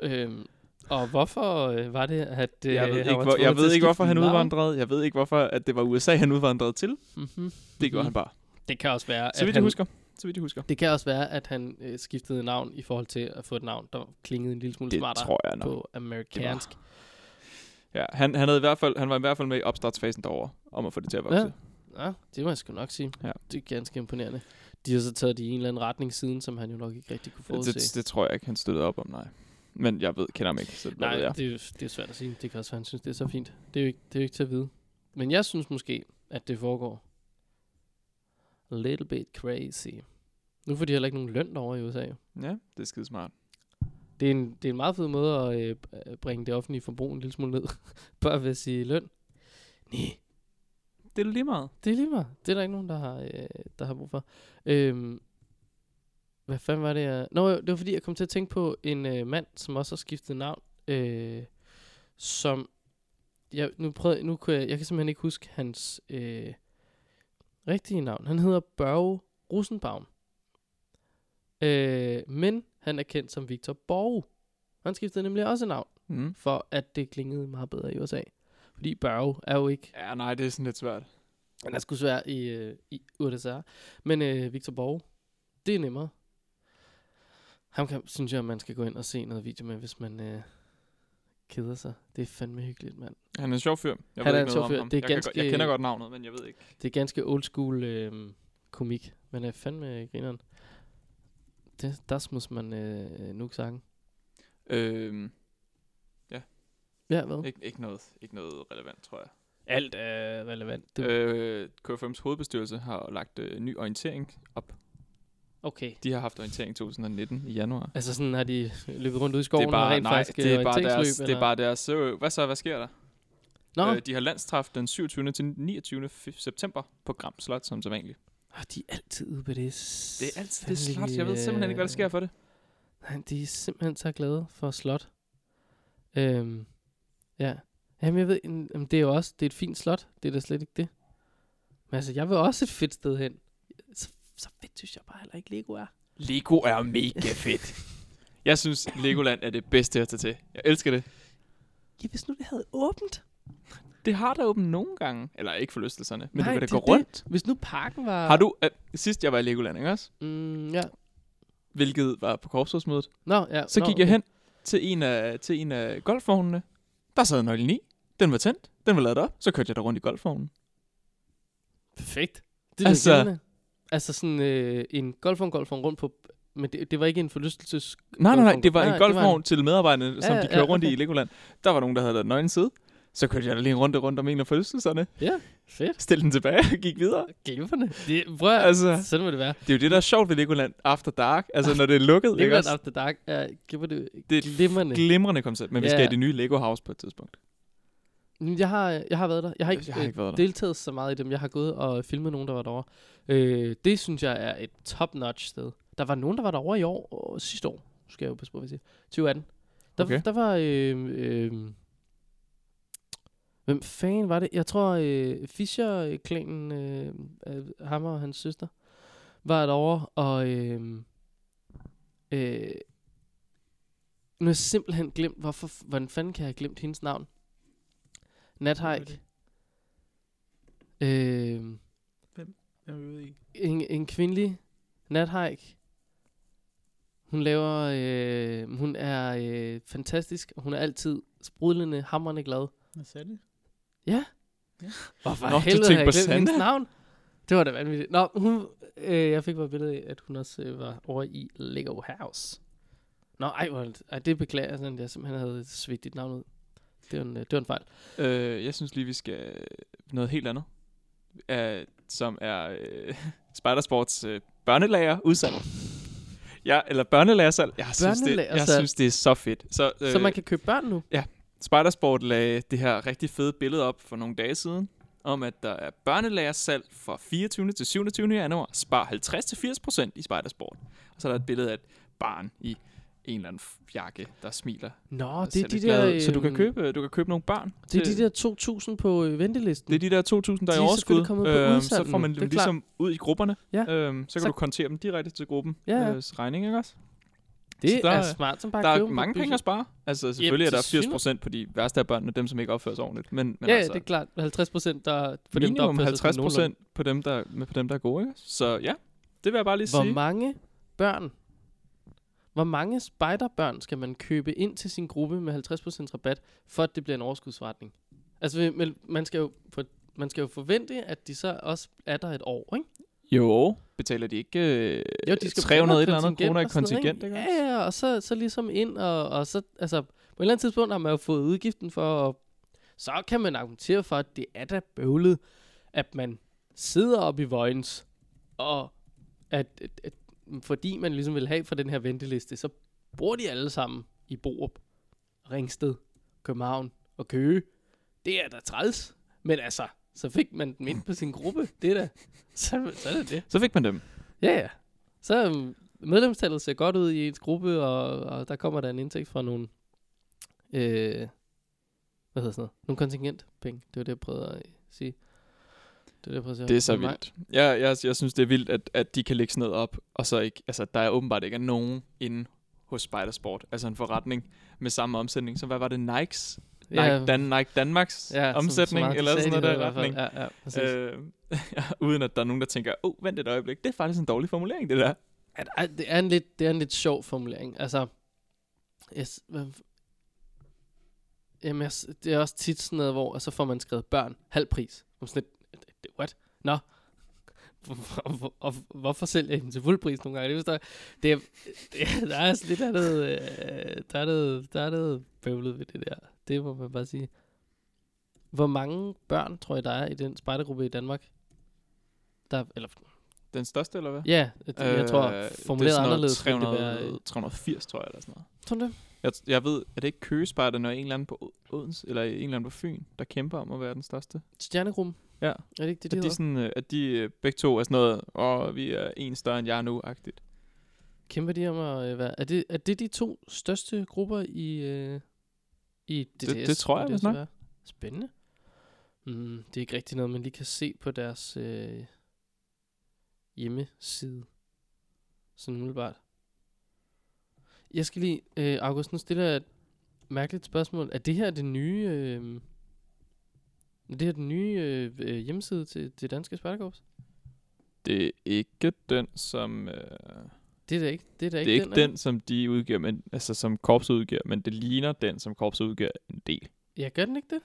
Øhm, og hvorfor øh, var det, at... Øh, jeg ved han ikke, var hvor, tvunget jeg til ved at ikke hvorfor han skifte navn? udvandrede. Jeg ved ikke, hvorfor at det var USA, han udvandrede til. Mhm. Det gjorde Mhm. han bare. Det kan også være, Så at vidt jeg han, husker. Så vidt jeg husker. det kan også være, at han øh, skiftede navn i forhold til at få et navn, der klingede en lille smule Det smartere tror jeg nok. på amerikansk. Ja, han, han, havde i hvert fald, han var i hvert fald med i opstartsfasen derovre, om at få det til at vokse. Ja. Ja. Ja, det må jeg sgu nok sige. Ja. Det er ganske imponerende. De har så taget det i en eller anden retning siden, som han jo nok ikke rigtig kunne forudse. Det, det, tror jeg ikke, han støttede op om, nej. Men jeg ved, kender ham ikke, så Nej, Nej, ved jeg. det, er jo- det er svært at sige. Det kan også være, han synes, det er så fint. Det er jo ikke, det er jo ikke til at vide. Men jeg synes måske, at det foregår a little bit crazy. Nu får de heller ikke nogen løn over i USA. jo. Ja, det er skide smart. Det er en, det er en meget fed måde at øh, b- bringe det offentlige forbrug en lille smule ned. Bare ved at sige løn. Nej, Det er lige meget. det er lige meget. Det er der ikke nogen, der har, øh, der har brug for. Øhm, hvad fanden var det, jeg... Nå, jo, det var fordi, jeg kom til at tænke på en øh, mand, som også har skiftet navn. Øh, som... Jeg, nu prøvede, nu kunne jeg, jeg kan simpelthen ikke huske hans øh, rigtige navn. Han hedder Børge Rosenbaum. Øh, men han er kendt som Victor Borge. Han skiftede nemlig også navn, Mm. for at det klingede meget bedre i USA. Fordi Børge er jo ikke Ja, nej, det er sådan lidt svært. han er sgu svær i, øh, i USA. Men øh, Victor Borg, det er nemmere. Ham kan, synes jeg, man skal gå ind og se noget video med, hvis man øh, keder sig. Det er fandme hyggeligt, mand. Han er en sjov fyr. Han Jeg ved er ikke en noget sjov om fyr. ham. Det er jeg, kan ganske- godt, jeg kender godt navnet, men jeg ved ikke. Det er ganske old school øh, komik, men er fandme grineren. Det, der smus man øh, nu sagen. Øhm, Ja, hvad? ikke, ikke, noget, ikke noget relevant, tror jeg. Alt er relevant. Det, øh. Øh, KFM's hovedbestyrelse har lagt øh, ny orientering op. Okay. De har haft orientering 2019 i januar. Altså sådan har de løbet rundt ude i skoven det er bare, og rent nej, faktisk det er øh, bare deres, orienteringsløb, det er eller? bare deres, øh, hvad så, hvad sker der? Nå, Øh, de har landstraf den 27. til 29. f- september på Gram Slot, som så vanligt. øh, de er altid ude på det. Det er altid det slot, jeg ved simpelthen ikke, hvad der øh, sker for det. Nej, de er simpelthen så glade for slot. Øhm, ja. Jamen, jeg ved, mm, jamen, det er jo også, det er et fint slot. Det er da slet ikke det. Men altså, jeg vil også et fedt sted hen. Så, så fedt synes jeg bare heller ikke Lego er. Lego er mega fedt. jeg synes, Legoland er det bedste at tage til. Jeg elsker det. Ja, hvis nu det havde åbent. Det har der åbent nogle gange. Eller ikke forlystelserne, men Nej, Nej, det vil da det gå er det. rundt. Hvis nu parken var... Har du, øh, sidst jeg var i Legoland, ikke også? Mm, ja. Hvilket var på korpsrådsmødet. Nå, ja. Så nå, gik jeg hen til en af, til en af golfvognene. Der sad nøglen i. Den var tændt. Den var lavet op. Så kørte jeg der rundt i golfvognen. Perfekt. Det er Altså- altså... Altså sådan øh, en golfvogn, golfvogn rundt på... Men det, det var ikke en forlystelses... Nej, nej, nej, Golfvogn. det var Nej, en det var golfvogn til medarbejderne, ja, som ja, de kører ja, rundt i okay. i Legoland. Der var nogen, der havde lavet nøgen side. Så kørte jeg da lige en runde rundt om en af forlystelserne, Ja, fedt. stillede den tilbage og gik videre. Glimrende. Det, prøv at, altså... Altså- Sådan må det være. Det er jo det, der er sjovt ved Legoland After Dark, altså når det er lukket. ikke Legoland også? After Dark er glimrende. Det er et glimrende. Glimrende koncept, men vi skal Ja. have det nye Lego House på et tidspunkt. Altså, Men Jeg har, jeg har været der. Jeg har ikke, øh, Jeg har ikke været der. deltaget så meget i dem. Jeg har gået og filmet nogen, der var derovre. Øh, det synes jeg er et top-notch sted. Der var nogen, der var derovre i år, og sidste år, Nu skal jeg jo passe på, hvad jeg siger, 2018. Der, Okay. der var, øh, øh, hvem fanden var det? Jeg tror, øh, Fischer-klanen, øh, øh, ham og hans søster, var derovre, og øh, øh, nu har jeg simpelthen glemt, hvorfor, hvordan fanden kan jeg have glemt hendes navn? Nathaik. Øh, Jeg ved ikke. en, en kvindelig nathajk. Hun laver, øh, hun er øh, fantastisk, og hun er altid sprudlende, hammerne glad. Hvad sagde det? Ja. Hvorfor Nå, du helvede har tænkte jeg på glemt hendes Sandra? navn? Det var da vanvittigt. Nå, hun, øh, jeg fik bare et billede af, at hun også øh, var over i Lego House. Nå, ej, hvor, er det- ej det beklager jeg, sådan, at jeg simpelthen havde svigt dit navn ud. Det var en, øh, det var en fejl. Øh, jeg synes lige, vi skal noget helt andet. Uh, som er uh, Spidersports uh, børnelager udsalg. Ja, eller børnelagersalg. Jeg synes, det, jeg Børnelagersalg. synes, det er så fedt. Så, Øh. Så man kan købe børn nu. Spidersport lagde det her rigtig fede billede op for nogle dage siden, om at der er børnelærersalg fra 24. til 27. januar. Spar 50-80% i Spidersport. Og så er der et billede af et barn i en eller anden f- jakke, der smiler. Nå, og det ser er de lidt der... glad ud. så du kan øhm, købe, du kan købe nogle barn. Det er til- de der 2.000 på øh, ventelisten. det er de der 2.000, der er i De er overskud. Øhm, selvfølgelig kommet på så udsalg får nu, man det er dem ligesom ud i grupperne. Ja. Øhm, så kan Så- du kontere dem direkte til gruppen. Ja, ja. øh, regning, ikke også? det så der er er- smart som bare Der at er købe dem på mange penge budget. at spare. Altså selvfølgelig til er der 80% på de værste af børnene, dem som ikke opfører sig ordentligt. Men, men Ja, altså, ja, det er klart. 50 procent, der for for dem, der minimum opfører sig sådan 50 nogenlunde. procent på dem, der, med på dem, der er gode. Ikke? Så ja, det vil jeg bare lige Hvor sige. mange børn, hvor mange spejderbørn skal man købe ind til sin gruppe med 50% rabat, for at det bliver en overskudsforretning? Altså, vi- men man skal jo, for, man skal jo forvente, at de så også er der et år, ikke? Jo, betaler de ikke øh, Jo, de skal 300 et bruge eller noget andet kroner i og sådan noget, kontingent? Ikke? også? Ja, ja, og så, så ligesom ind, og, og så, altså, på et eller andet tidspunkt har man jo fået udgiften for, og så kan man argumentere for, at det er da bøvlet, at man sidder op i Vojens, og at, at, at, fordi man ligesom vil have for den her venteliste, så bor de alle sammen i Borup, Ringsted, København og Køge. Det er da træls, men altså, så fik man dem ind på sin gruppe, det er da, så, så er det det. Så fik man dem. Ja, ja. Så øhm, medlemstallet ser godt ud i ens gruppe, og, og der kommer der en indtægt fra nogle... Øh, hvad hedder sådan noget? Nogle kontingentpenge. Det var det, jeg prøvede at øh, sige. Det, var det, jeg prøvede at sige. Det er så Men nej. vildt. Jeg, jeg, jeg synes, det er vildt, at, at de kan lægge sådan noget op, og så ikke, altså, der er åbenbart ikke er nogen inde hos Spidersport, altså en forretning med samme omsætning. Så hvad var det? Nikes? Nike, Ja, Dan, Nike Danmarks ja, så- så omsætning? meget, de eller sådan sagde noget de der i det i hvert fald. retning. Ja, ja, præcis. Øh, Øh, uden at der er nogen, der tænker, åh, oh, vent et øjeblik, det er faktisk en dårlig formulering, det der. at, at det, er en lidt, det er en lidt sjov formulering. Altså, yes, hvad, jamen, jeg, s- det er også tit sådan noget, hvor og så får man skrevet børn halv pris. Om sådan lidt, "Det- det- what? Nå. Og, hvor- og, hvorfor sælger I dem til fuld pris nogle gange? Det forstår jeg. Det er, det, er- der er sådan lidt af noget, øh, der er noget, der er noget bøvlet ved det der. Det må man bare sige. Hvor mange børn, tror jeg, der er i den spejdergruppe i Danmark? Der, eller, Den største, eller hvad? ja, det, øh, jeg tror, formuleret anderledes ville det 300, være... øh, 380, tror jeg, eller sådan noget. Tror du det? Jeg, jeg ved, er det ikke køgespejder, når en eller anden på Odens, eller en eller anden på Fyn, der kæmper om at være den største? Stjernegruppen? Ja. Er det ikke det, de at, hedder? de sådan, øh, at de øh, begge to er sådan noget, åh, vi er en større end jeg er nu-agtigt. Kæmper de om at øh, være... Er det, er det de to største grupper i, øh, i DTS? det tror jeg, må vist så nok. være. Spændende. Mm, det er ikke rigtig noget, man lige kan se på deres øh, hjemmeside. Sådan umiddelbart. Jeg skal lige... Øh, August, nu stiller jeg et mærkeligt spørgsmål. Er det her det nye... Øh, er det her den nye øh, øh, hjemmeside til det danske spejderkorps? Det er ikke den, som... Øh, Det er da ikke, det er da det ikke, er ikke den, den, er det? som de udgiver, men, altså som korpset udgiver, men det ligner den, som korpset udgiver en del. Ja, gør den ikke det?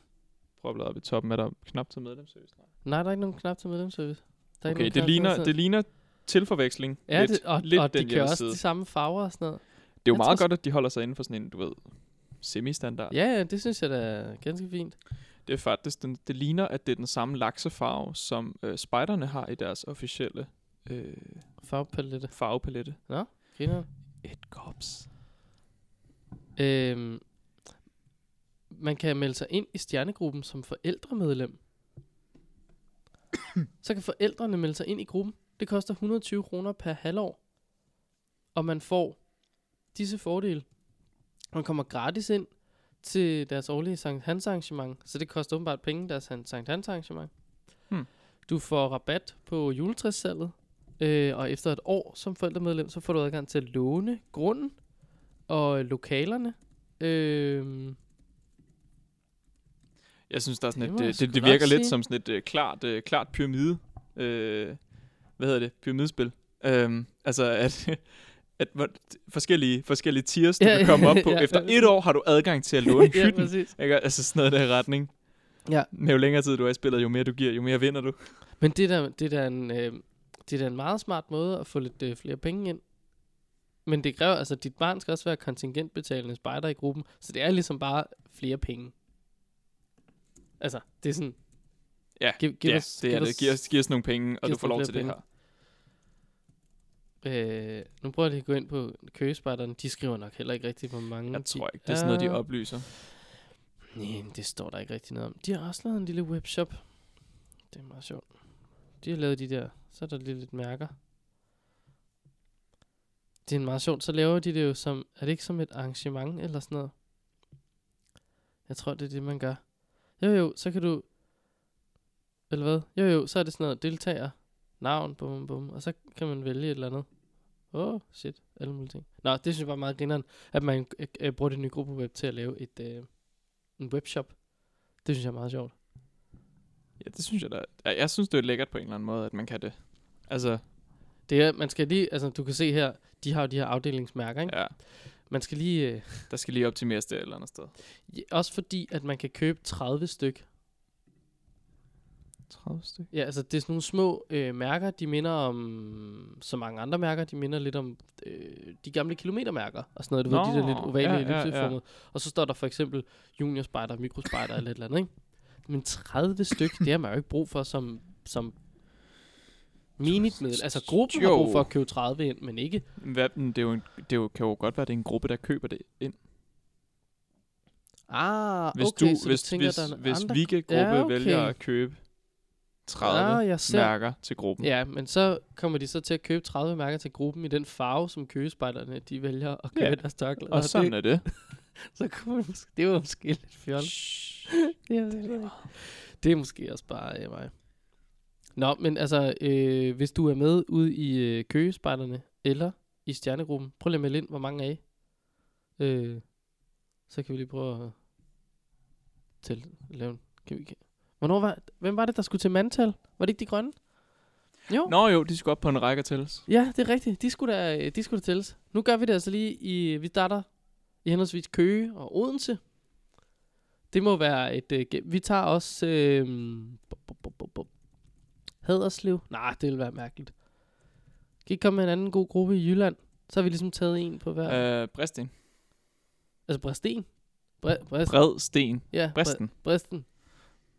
Prøv at bladre op i toppen, er der knap til medlemsservice? Nej. Nej, der er ikke nogen knap til medlemsservice. Der er ikke Okay, nogen det knap til ligner, medlemsservice. det ligner til forveksling. Ja, lidt, det, og, lidt og den de kører også hjemmeside. de samme farver og sådan noget. Det er jo Jeg meget tror- godt, at de holder sig inden for sådan en, du ved, semistandard. Ja, ja, det synes jeg da er ganske fint. Det er faktisk, den, det ligner, at det er den samme laksefarve, som øh, spejderne har i deres officielle øh, Farvepalette. farvepalette. Griner. Et kops. Øhm, man kan melde sig ind i stjernegruppen som forældremedlem. Så kan forældrene melde sig ind i gruppen. Det koster 120 kroner per halvår. Og man får disse fordele. Man kommer gratis ind til deres årlige Sankt Hans arrangement. Så det koster åbenbart penge, deres han- Sankt Hans arrangement. Hmm. Du får rabat på juletræssalget. Øh, og efter et år som forældremedlem, så får du adgang til at låne grunden og lokalerne. Øh, Jeg synes, der er sådan Det det, må et, øh, jeg det, sgu det, det nok virker lidt sige. som sådan et øh, klart, øh, klart pyramide. Øh, hvad hedder det? Pyramidespil. Øhm, altså, at, at hvor- forskellige, forskellige tiers, du Ja, kan komme op på. ja, Efter ja. et år har du adgang til at låne ja, hytten. præcis. Ikke? Altså sådan noget der i retning. Ja. Men Jo længere tid du er i spillet, jo mere du giver, jo mere vinder du. Men det er da, det er da en, øh, det er da en meget smart måde at få lidt øh, flere penge ind. Men det kræver, altså dit barn skal også være kontingentbetalende spejder i gruppen, så det er ligesom bare flere penge. Altså, det er sådan, Ja, Giv- giv ja os- det er giv det. os- Giv os, giv os nogle penge, og giv du os får nogle lov flere til det penge. her. øh, nu prøver jeg lige at gå ind på køgespejderne, de skriver nok heller ikke rigtigt, hvor mange Jeg tror ikke, det er sådan noget, de oplyser. Nej, men det står der ikke rigtig noget om. De har også lavet en lille webshop. Det er meget sjovt. De har lavet de der, så er der lige lidt mærker. Det er en meget sjovt. Så laver de det jo som, er det ikke som et arrangement eller sådan noget? Jeg tror, det er det, man gør. Jo jo, så kan du, eller hvad? Jo jo, så er det sådan noget deltager, navn, bum bum, og så kan man vælge et eller andet. Åh, oh, shit, alle mulige ting. Nå, det synes jeg bare er meget grineren, at man øh, øh, bruger det nye gruppeweb til at lave et, øh, en webshop. Det synes jeg er meget sjovt. Ja, det synes jeg da. Ja, Jeg synes, det er lækkert på en eller anden måde, at man kan det. Altså, Det er, man skal lige, altså du kan se her, de har jo de her afdelingsmærker, ikke? Ja. ja, Man skal lige, øh, der skal lige optimeres det et eller andet sted. ja, også fordi, at man kan købe 30 styk. 30 stykker. Ja, altså det er sådan nogle små øh, mærker, de minder om, så mange andre mærker, de minder lidt om øh, de gamle kilometermærker, og sådan noget, du Nå, ved, de der lidt Nå, ovale ja, ja, ja, ja. ellipseformede. Og så står der for eksempel juniorspejder, mikrospejder eller et eller andet, ikke? Men 30 styk, det har man jo ikke brug for som, som menigt middel. Altså gruppen jo. har Jo. brug for at købe 30 ind, men ikke Hvad, men det, er jo en, det er jo, kan jo godt være, at det er en gruppe, der køber det ind. Ah, Hvis okay, du, så hvis, du tænker, hvis, der er en hvis andre... Vigge-gruppe ja, Ja, okay. okay. vælger at købe 30 ah, jeg ja, ser. mærker til gruppen. Ja, men så kommer de så til at købe 30 mærker til gruppen i den farve, som køgespejderne, de vælger at købe Ja, ja. deres tørklæder. Og sådan det, er det. så kunne man måske, det var måske lidt fjollet. Jeg ved det, ikke. det er måske også bare øh, mig. Nå, men altså, øh, hvis du er med ude i øh, køgespejderne, eller i stjernegruppen, prøv lige at melde ind, hvor mange er I? Øh, så kan vi lige prøve at til lave en. Kan vi, kan, hvornår var, hvem var det, der skulle til mandtal? Var det ikke de grønne? Jo. Nå jo, de skal op på en række til. Ja, det er rigtigt. De skulle da, øh, de skulle da tælles. Nu gør vi det altså lige i, vi starter i henholdsvis Køge og Odense. Det må være et, øh, ge- vi tager også, øh, bu- bu- bu- bu- bu- Haderslev. Nej, det vil være mærkeligt. Kan I ikke komme med en anden god gruppe i Jylland? Så har vi ligesom taget en på hver. Øh. Øh, Bredsten. Altså Bredsten. Bre, Brest, Bredsten. ja, Bre- Bredsten. Bristen.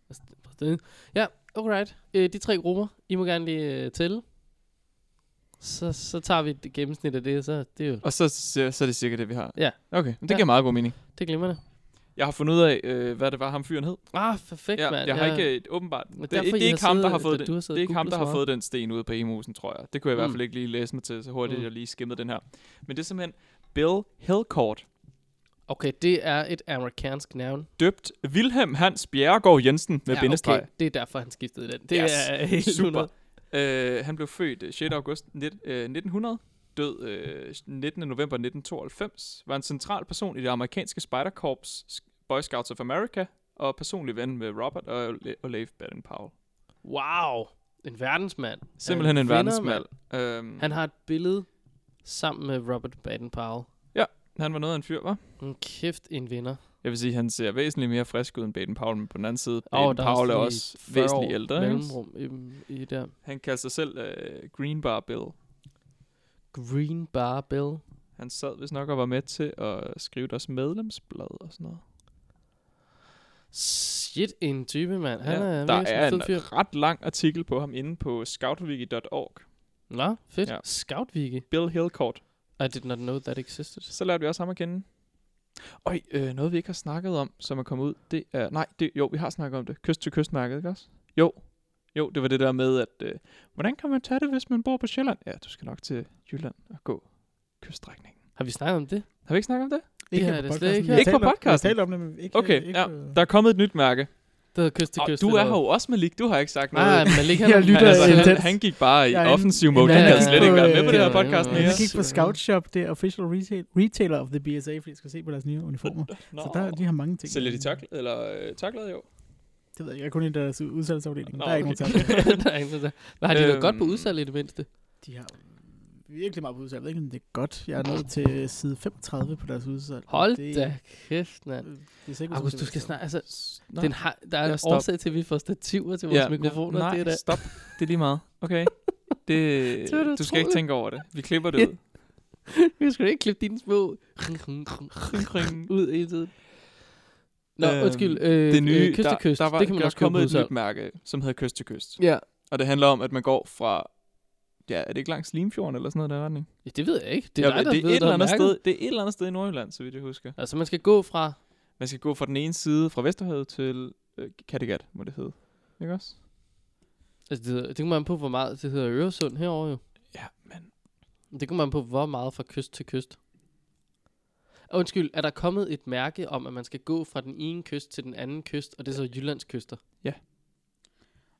Brist- Bristen. Ja, alright. Øh, de tre grupper, I må gerne lige øh, tælle. Så, så tager vi et gennemsnit af det, så det er jo, Og så, så, så er det cirka det, vi har. Ja. Okay, men det Ja. giver meget god mening. det glemmer det. Jeg har fundet ud af, øh, hvad det var, ham fyren hed. Ah, perfekt, Ja, mand. jeg har ikke et åbenbart... Men Det, det, derfor, I det er har ikke ham, der siddet- har fået da den. du har Det siddet er ikke og ham, der googlet har så meget. fået den sten ude på Emusen, tror jeg. Det kunne jeg i hvert Mm. fald ikke lige læse mig til, så hurtigt Mm. jeg lige skimmede den her. Men det er simpelthen Bill Hellcourt, Okay, det er et amerikansk navn. døbt Wilhelm Hans Bjerregaard Jensen med ja, bindestreg. det er derfor, han skiftede den. Det Yes, er helt Super. 100. Øh, han blev født øh, 6. august nit, øh, 1900, død øh, 19. november 1992, var en central person i det amerikanske spejderkorps sk- Boy Scouts of America, og personlig ven med Robert og Ole- Olave Baden-Powell. Wow. En verdensmand. Simpelthen en finder, verdensmand. Øhm, Han har et billede sammen med Robert Baden-Powell. han var noget af en fyr, var. En kæft en vinder. Jeg vil sige, han ser væsentligt mere frisk ud end Baden-Powell, men på den anden side, Og der Baden-Powell er lige også 40 væsentligt år ældre. Ikke? Mellemrum i, i der. Han kalder sig selv øh, Green Bar Bill. Green Barbell. Han sad vist nok og var med til at skrive deres medlemsblad og sådan noget. Shit, en type, mand. Han Ja, er der virkelig sådan er en fed fyr. en ret lang artikel på ham inde på scoutviki.org. Nå, fedt. Ja. Ja. Scout Wiki. Bill Hillcourt. I did not know that existed. Så lærte vi også ham at kende. Og øh, noget vi ikke har snakket om, som er kommet ud, det er... Nej, det, jo, vi har snakket om det. Kyst til kyst mærket, ikke også? Jo. Jo, det var det der med, at... Øh, hvordan kan man tage det, hvis man bor på Sjælland? Ja, du skal nok til Jylland og gå kyststrækningen. Har vi snakket om det? Har vi ikke snakket om det? Det her her er det på slet podcasten. ikke Vi har her. Ikke på talt om- podcasten? Vi har talt om det, men ikke... øh, Okay, ikke ja. på- Der er kommet et nyt mærke. Det hedder kyst til Og kyst. du det er her hedder- jo også, Malik. Du har ikke sagt noget. Nej, men ligger Jeg lytter altså, i han- en han, intens. han gik bare i Jeg er en- offensiv mode. Ja, Han jeg havde er slet på, ikke været med på øh, det her podcast. ja, Jeg ja. Nias. gik på Scout Shop, det er official retail, retailer of the BSA, fordi jeg skulle se på deres nye uniformer. Nå. Så der, de har mange ting. Sælger de tørklæder? Eller øh, tørklæder, jo. Det ved jeg ikke. Jeg er kun ind i deres udsalgsafdeling. Nå, Der er ikke nogen okay. tørklæder. der er ikke noget der. Men har de noget godt på Øhm. udsalg i det mindste? De har virkelig meget på udsalget, ikke? Men det er godt. Jeg er nået til side 35 på deres udsalg. Hold det, da kæft, mand. øh, Det er sikkert, August, du skal snart, altså, Nå. den har, der er Ja, en stop. årsag til, at vi får stativer til vores mikrofoner. nej, det er da. stop. Det er lige meget. Okay. Det, Det var da du skal ikke utroligt. tænke over det. Vi klipper det ud. Vi skal da ikke klippe dine små Kring. ud hele tiden. Nå, Øhm, undskyld. Øh, det nye, øh, kyst til kyst, der, der var, det kan man der også er købe på kommet et udsalg. nyt mærke, som hedder Kyst til Kyst. Ja. Og det handler om, at man går fra, ja, er det ikke langs Limfjorden eller sådan noget i den retning? ja. det ved jeg ikke. Det er ja, dig, der det, er ved, et eller der andet er sted, det er et eller andet sted i Nordjylland, så vidt jeg husker. Altså, man skal gå fra... Man skal gå fra den ene side, fra Vesterhavet til øh, Kattegat, må det hedde. Ikke også? Altså, det, hedder- det kommer man på, hvor meget... Det hedder Øresund herovre jo. Ja, men Det kommer man på, hvor meget fra kyst til kyst. Og undskyld, er der kommet et mærke om, at man skal gå fra den ene kyst til den anden kyst, og det er så Jyllands kyster?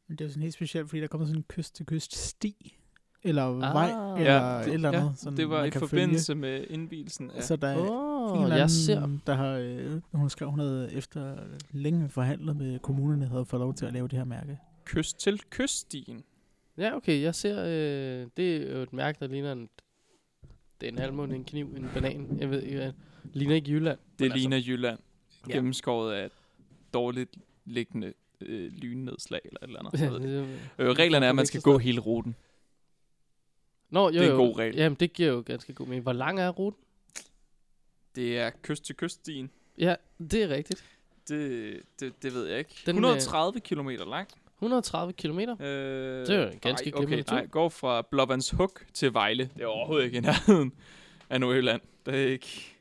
Men det er jo sådan helt specielt, fordi der kommer sådan en kyst til kyst sti, eller Ah. ah, vej, Ja, eller ja, det, et eller andet. ja, sådan, det var man i kan forbindelse med indvielsen Følge. af Altså- Så der er Åh, Øh, en oh, eller jeg ser. anden, der har, øh, hun skrev, hun havde efter længe forhandlet med kommunerne, havde fået lov til at lave det her mærke. kyst til kyststien. Ja, okay, jeg ser... Øh, det er jo et mærke, der ligner en... Det er en halvmåne, en kniv, en banan. Jeg ved ikke, hvad. Ligner ikke Jylland. Det Men altså- ligner Jylland. Ja. Gennemskåret af et dårligt liggende øh, lynnedslag eller et eller andet. Jeg ved det ikke. Ja, Øh, reglerne er, at man skal gå hele ruten. Nå, jo, Det er en jo. god regel. Jamen, det giver jo ganske god mening. Hvor lang er ruten? Det er kyst til kyststien. Ja, det er rigtigt. Det, det, det ved jeg ikke. Den, øh, 130 km lang. 130 kilometer. Øh, det er jo en ganske nej, okay, glimrende tur. nej, går fra Blåvands Huk til Vejle. Det er overhovedet ikke i nærheden af Nordjylland. Det er ikke...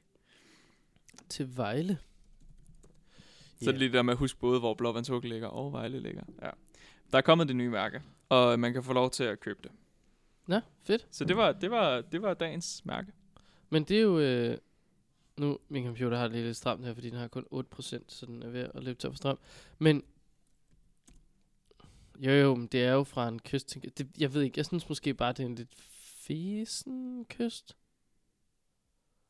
Til Vejle. Så er det lige det der med at huske både, hvor Blåvands Huk ligger og Vejle ligger. Ja. Der er kommet det nye mærke, og man kan få lov til at købe det. Nå, fedt. Så det var, det var, det var dagens mærke. Men det er jo... Øh, nu, min computer har det lige lidt stramt her, fordi den har kun 8%, så den er ved at løbe tør for strøm. Men... Jo, jo, men det er jo fra en kyst til... Det, jeg ved ikke, jeg synes måske bare, det er en lidt fesen kyst.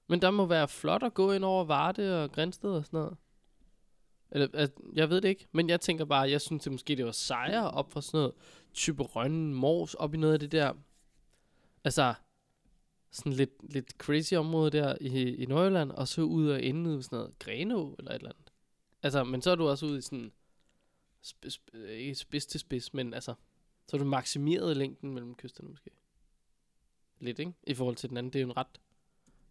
Men der må være flot at gå ind over Varde og Grænsted og sådan noget. Eller, altså, jeg ved det ikke, men jeg tænker bare, jeg synes det måske, det var sejere op fra sådan noget type Rønne Mors, op i noget af det der, altså, sådan lidt, lidt crazy område der i, i Nordjylland, og så ud og ende ude i sådan noget Grenå eller et eller andet. Altså, men så er du også ude i sådan, sp- sp- øh, ikke spids til spids, men altså, så er du maksimeret længden mellem kysterne måske. Lidt, ikke? I forhold til den anden, det er jo en ret,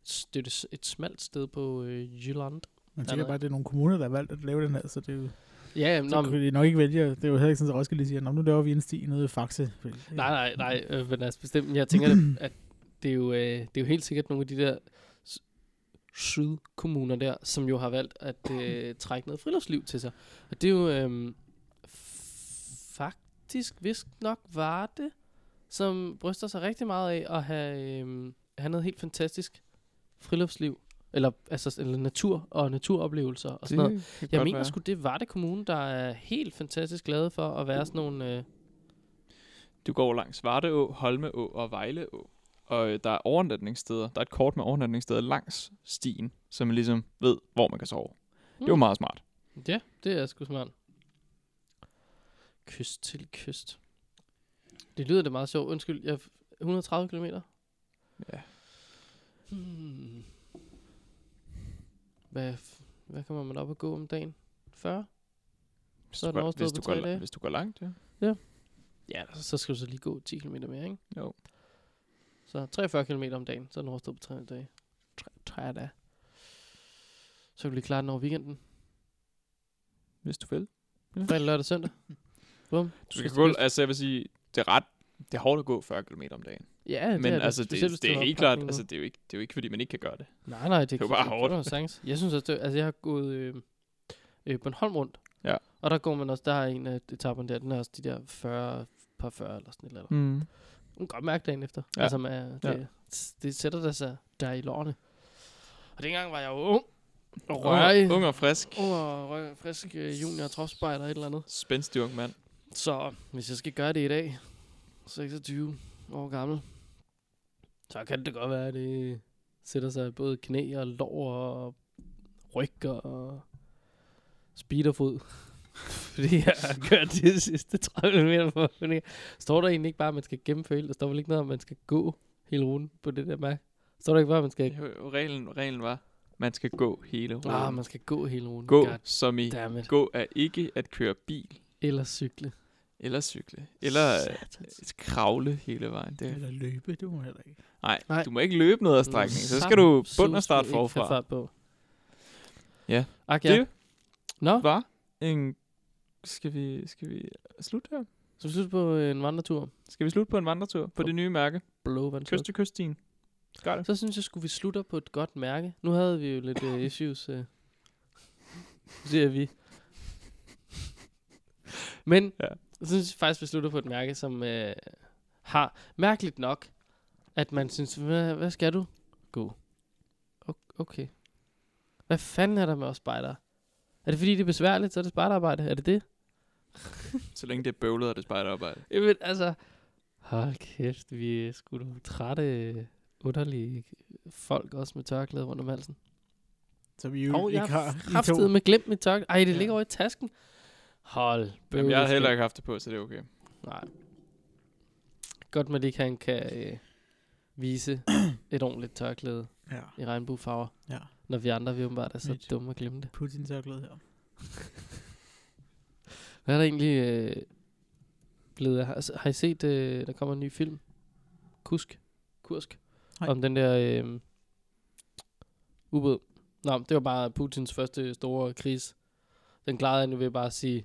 s- det er jo et s- et smalt sted på øh, Jylland. Man Der er tænker noget. bare, at det er nogle kommuner, der har valgt at lave den her, så det er jo, Ja, jamen, så nå, men- kunne de nok ikke vælge. Det er jo heller ikke sådan, at Roskilde siger, "Nå, nu laver vi en sti nede i Faxe. Nej, nej, nej, øh, men altså bestemt, jeg tænker, at- at det er, jo, øh, det er jo helt sikkert nogle af de der s- sydkommuner der, som jo har valgt at øh, trække noget friluftsliv til sig. Og det er jo øh, faktisk vist nok var det, som bryster sig rigtig meget af at have, øh, have noget helt fantastisk friluftsliv. Eller, altså, eller natur og naturoplevelser og sådan noget. Jeg mener sgu, det var det kommune, der er helt fantastisk glade for at være sådan nogle... Øh, Du går langs Vardeå, Holmeå og Vejleå. Og øh, der er overnatningssteder. Der er et kort med overnatningssteder langs stien, så man ligesom ved, hvor man kan sove. Mm. Det var Mm. meget smart. Ja, det er sgu smart. Kyst til kyst. Det lyder da meget sjovt. Undskyld, jeg 130 km. Ja. Hmm. Hvad, f- hvad kommer man op og gå om dagen? 40? Hvis Så er du den går- overstået hvis du på tre går la- dage. Hvis du går langt, ja. altså, Ja, så, Altså, så skal du så lige gå 10 km mere, ikke? Jo. Så 43 km om dagen, så er den overstået på 3 dage. 3 dage. Så kan du lige klare den over weekenden. Hvis du vil. Fredag, lørdag, søndag. Bum. Du skal Kyst til gå, kyst. altså jeg vil sige, det er ret, det er hårdt at gå 40 km om dagen. Ja, det Men er det. altså, det, Specielt hvis det, det har er helt klart, oppakning med. altså det er, jo ikke, det er jo ikke, fordi man ikke kan gøre det. Nej, nej, det, jo bare hårdt. Det sangs. Jeg synes også, det, altså jeg har gået øh, øh, Bornholm rundt. Ja. Og der går man også, der er en af etapperne der, den er også de der 40, par 40 eller sådan et eller andet. Mm. Man kan godt mærke dagen efter. Ja. Ja. Altså, man, det, Ja. ja. det sætter der sig der i lårene. Og dengang var jeg jo ung. Og Ung, rørig. ung og frisk. Ung og røg, frisk øh, junior tropspejder et eller andet. Spændstig ung mand. Så hvis jeg skal gøre det i dag, 26 år gammel, så kan det godt være, at det sætter sig i både knæ og lår og ryg og speederfod. Fordi jeg har kørt de sidste 30 meter for at finde. Står der egentlig ikke bare, at man skal gennemføre hele? Der står vel ikke noget om, at man skal gå hele ruten på det der mærke? Så er der ikke bare, at man skal... Jo, jo, reglen, reglen var, man skal gå hele ruten. Ah, man skal gå hele ruten. Gå, God som i Goddammit. gå er ikke at køre bil, Eller cykle. eller cykle, eller øh, Satans. kravle hele vejen. Det, Eller løbe, det må man heller ikke. nej, Nej. nej, du må ikke løbe noget af strækningen, så skal du bund og starte forfra. Fart på. Ja. Ak, ja. Det Nå, var en... Skal vi, skal vi slutte her? så slut på en vandretur. Skal vi slutte på en vandretur på det nye mærke? Blå Kyst til kyststien. Skal det? Så synes jeg, skulle vi slutter på et godt mærke. Nu havde vi jo lidt uh, issues. Uh. Nu siger vi. Men ja. Ja. jeg synes faktisk, vi slutter på et mærke, som uh, har mærkeligt nok, at man synes, hvad, hvad skal du? Gå. O- okay. Hvad fanden er der med os spejdere? Er det fordi, det er besværligt, så er det spejderarbejde? Er det det? Så længe det er bøvlet, er det spejderarbejde. Jamen, altså... Hold kæft, vi er sgu nogle trætte, underlige folk, også med tørklæde rundt om halsen. Som I jo Og jeg ikke har. har I kraftet med glemt mit tørklæde. Ej, det Ja. ligger over i tasken. Hold Jamen, jeg har bøvleskab. heller ikke haft det på, så det er okay. Nej. Godt, man ikke han kan øh, vise et ordentligt tørklæde Ja, i regnbuefarver. Ja. Når vi andre, vi åbenbart er så Mit. dumme at glemme det. Putin tørklæde her. Hvad er der egentlig øh, blevet af? Altså, har I set, øh, der kommer en ny film? Kusk? Kursk? Nej. Om den der øh, ubåd. Nå, det var bare Putins første store kris. Den klarede han jo ved bare at sige,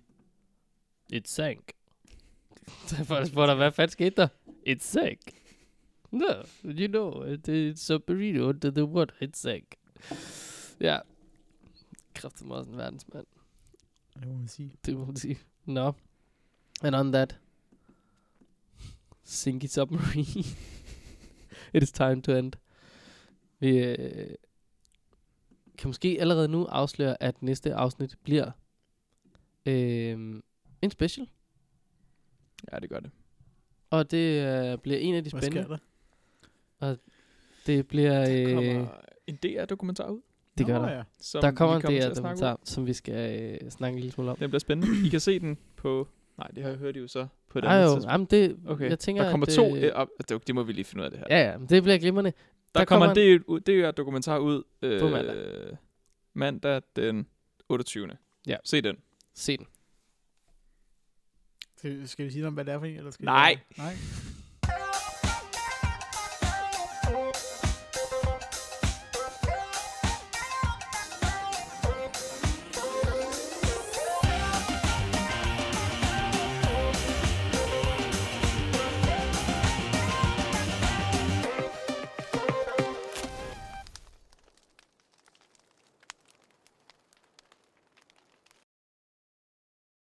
It sank. Så folk spurgte, hvad fanden skete der? It sank. No, you know, it- it's submarine under the water, it sank. Ja. Kræftet mig også en verdensmand. Det må man sige. Det må man sige. Nå. And on that sinky submarine, it is time to end. Vi øh, kan måske allerede nu afsløre, at næste afsnit bliver øh, en special. Ja, det gør det. Og det øh, bliver en af de Hvad sker spændende. der? Det bliver... Der Øh, kommer en DR-dokumentar ud. det gør Nå, der. ja. Som Der vi kommer en til at snakke om. DR-dokumentar, som vi skal øh, snakke en lille smule om. Den bliver spændende. I kan se den på... Nej, det har jeg hørt jo så på et Ej, andet jo, tidspunkt. jamen det, Okay, jeg tænker, der kommer at, to... øh, Øh, op, det, det må vi lige finde ud af det her. Ja, ja, men det bliver glimrende. der, der der kommer kommer en DR-dokumentar ud... Øh, På mandag. Mandag den 28. Ja. Se den. Se den. Skal- Skal vi sige noget om, hvad det er for en? Eller skal vi- Nej. Nej.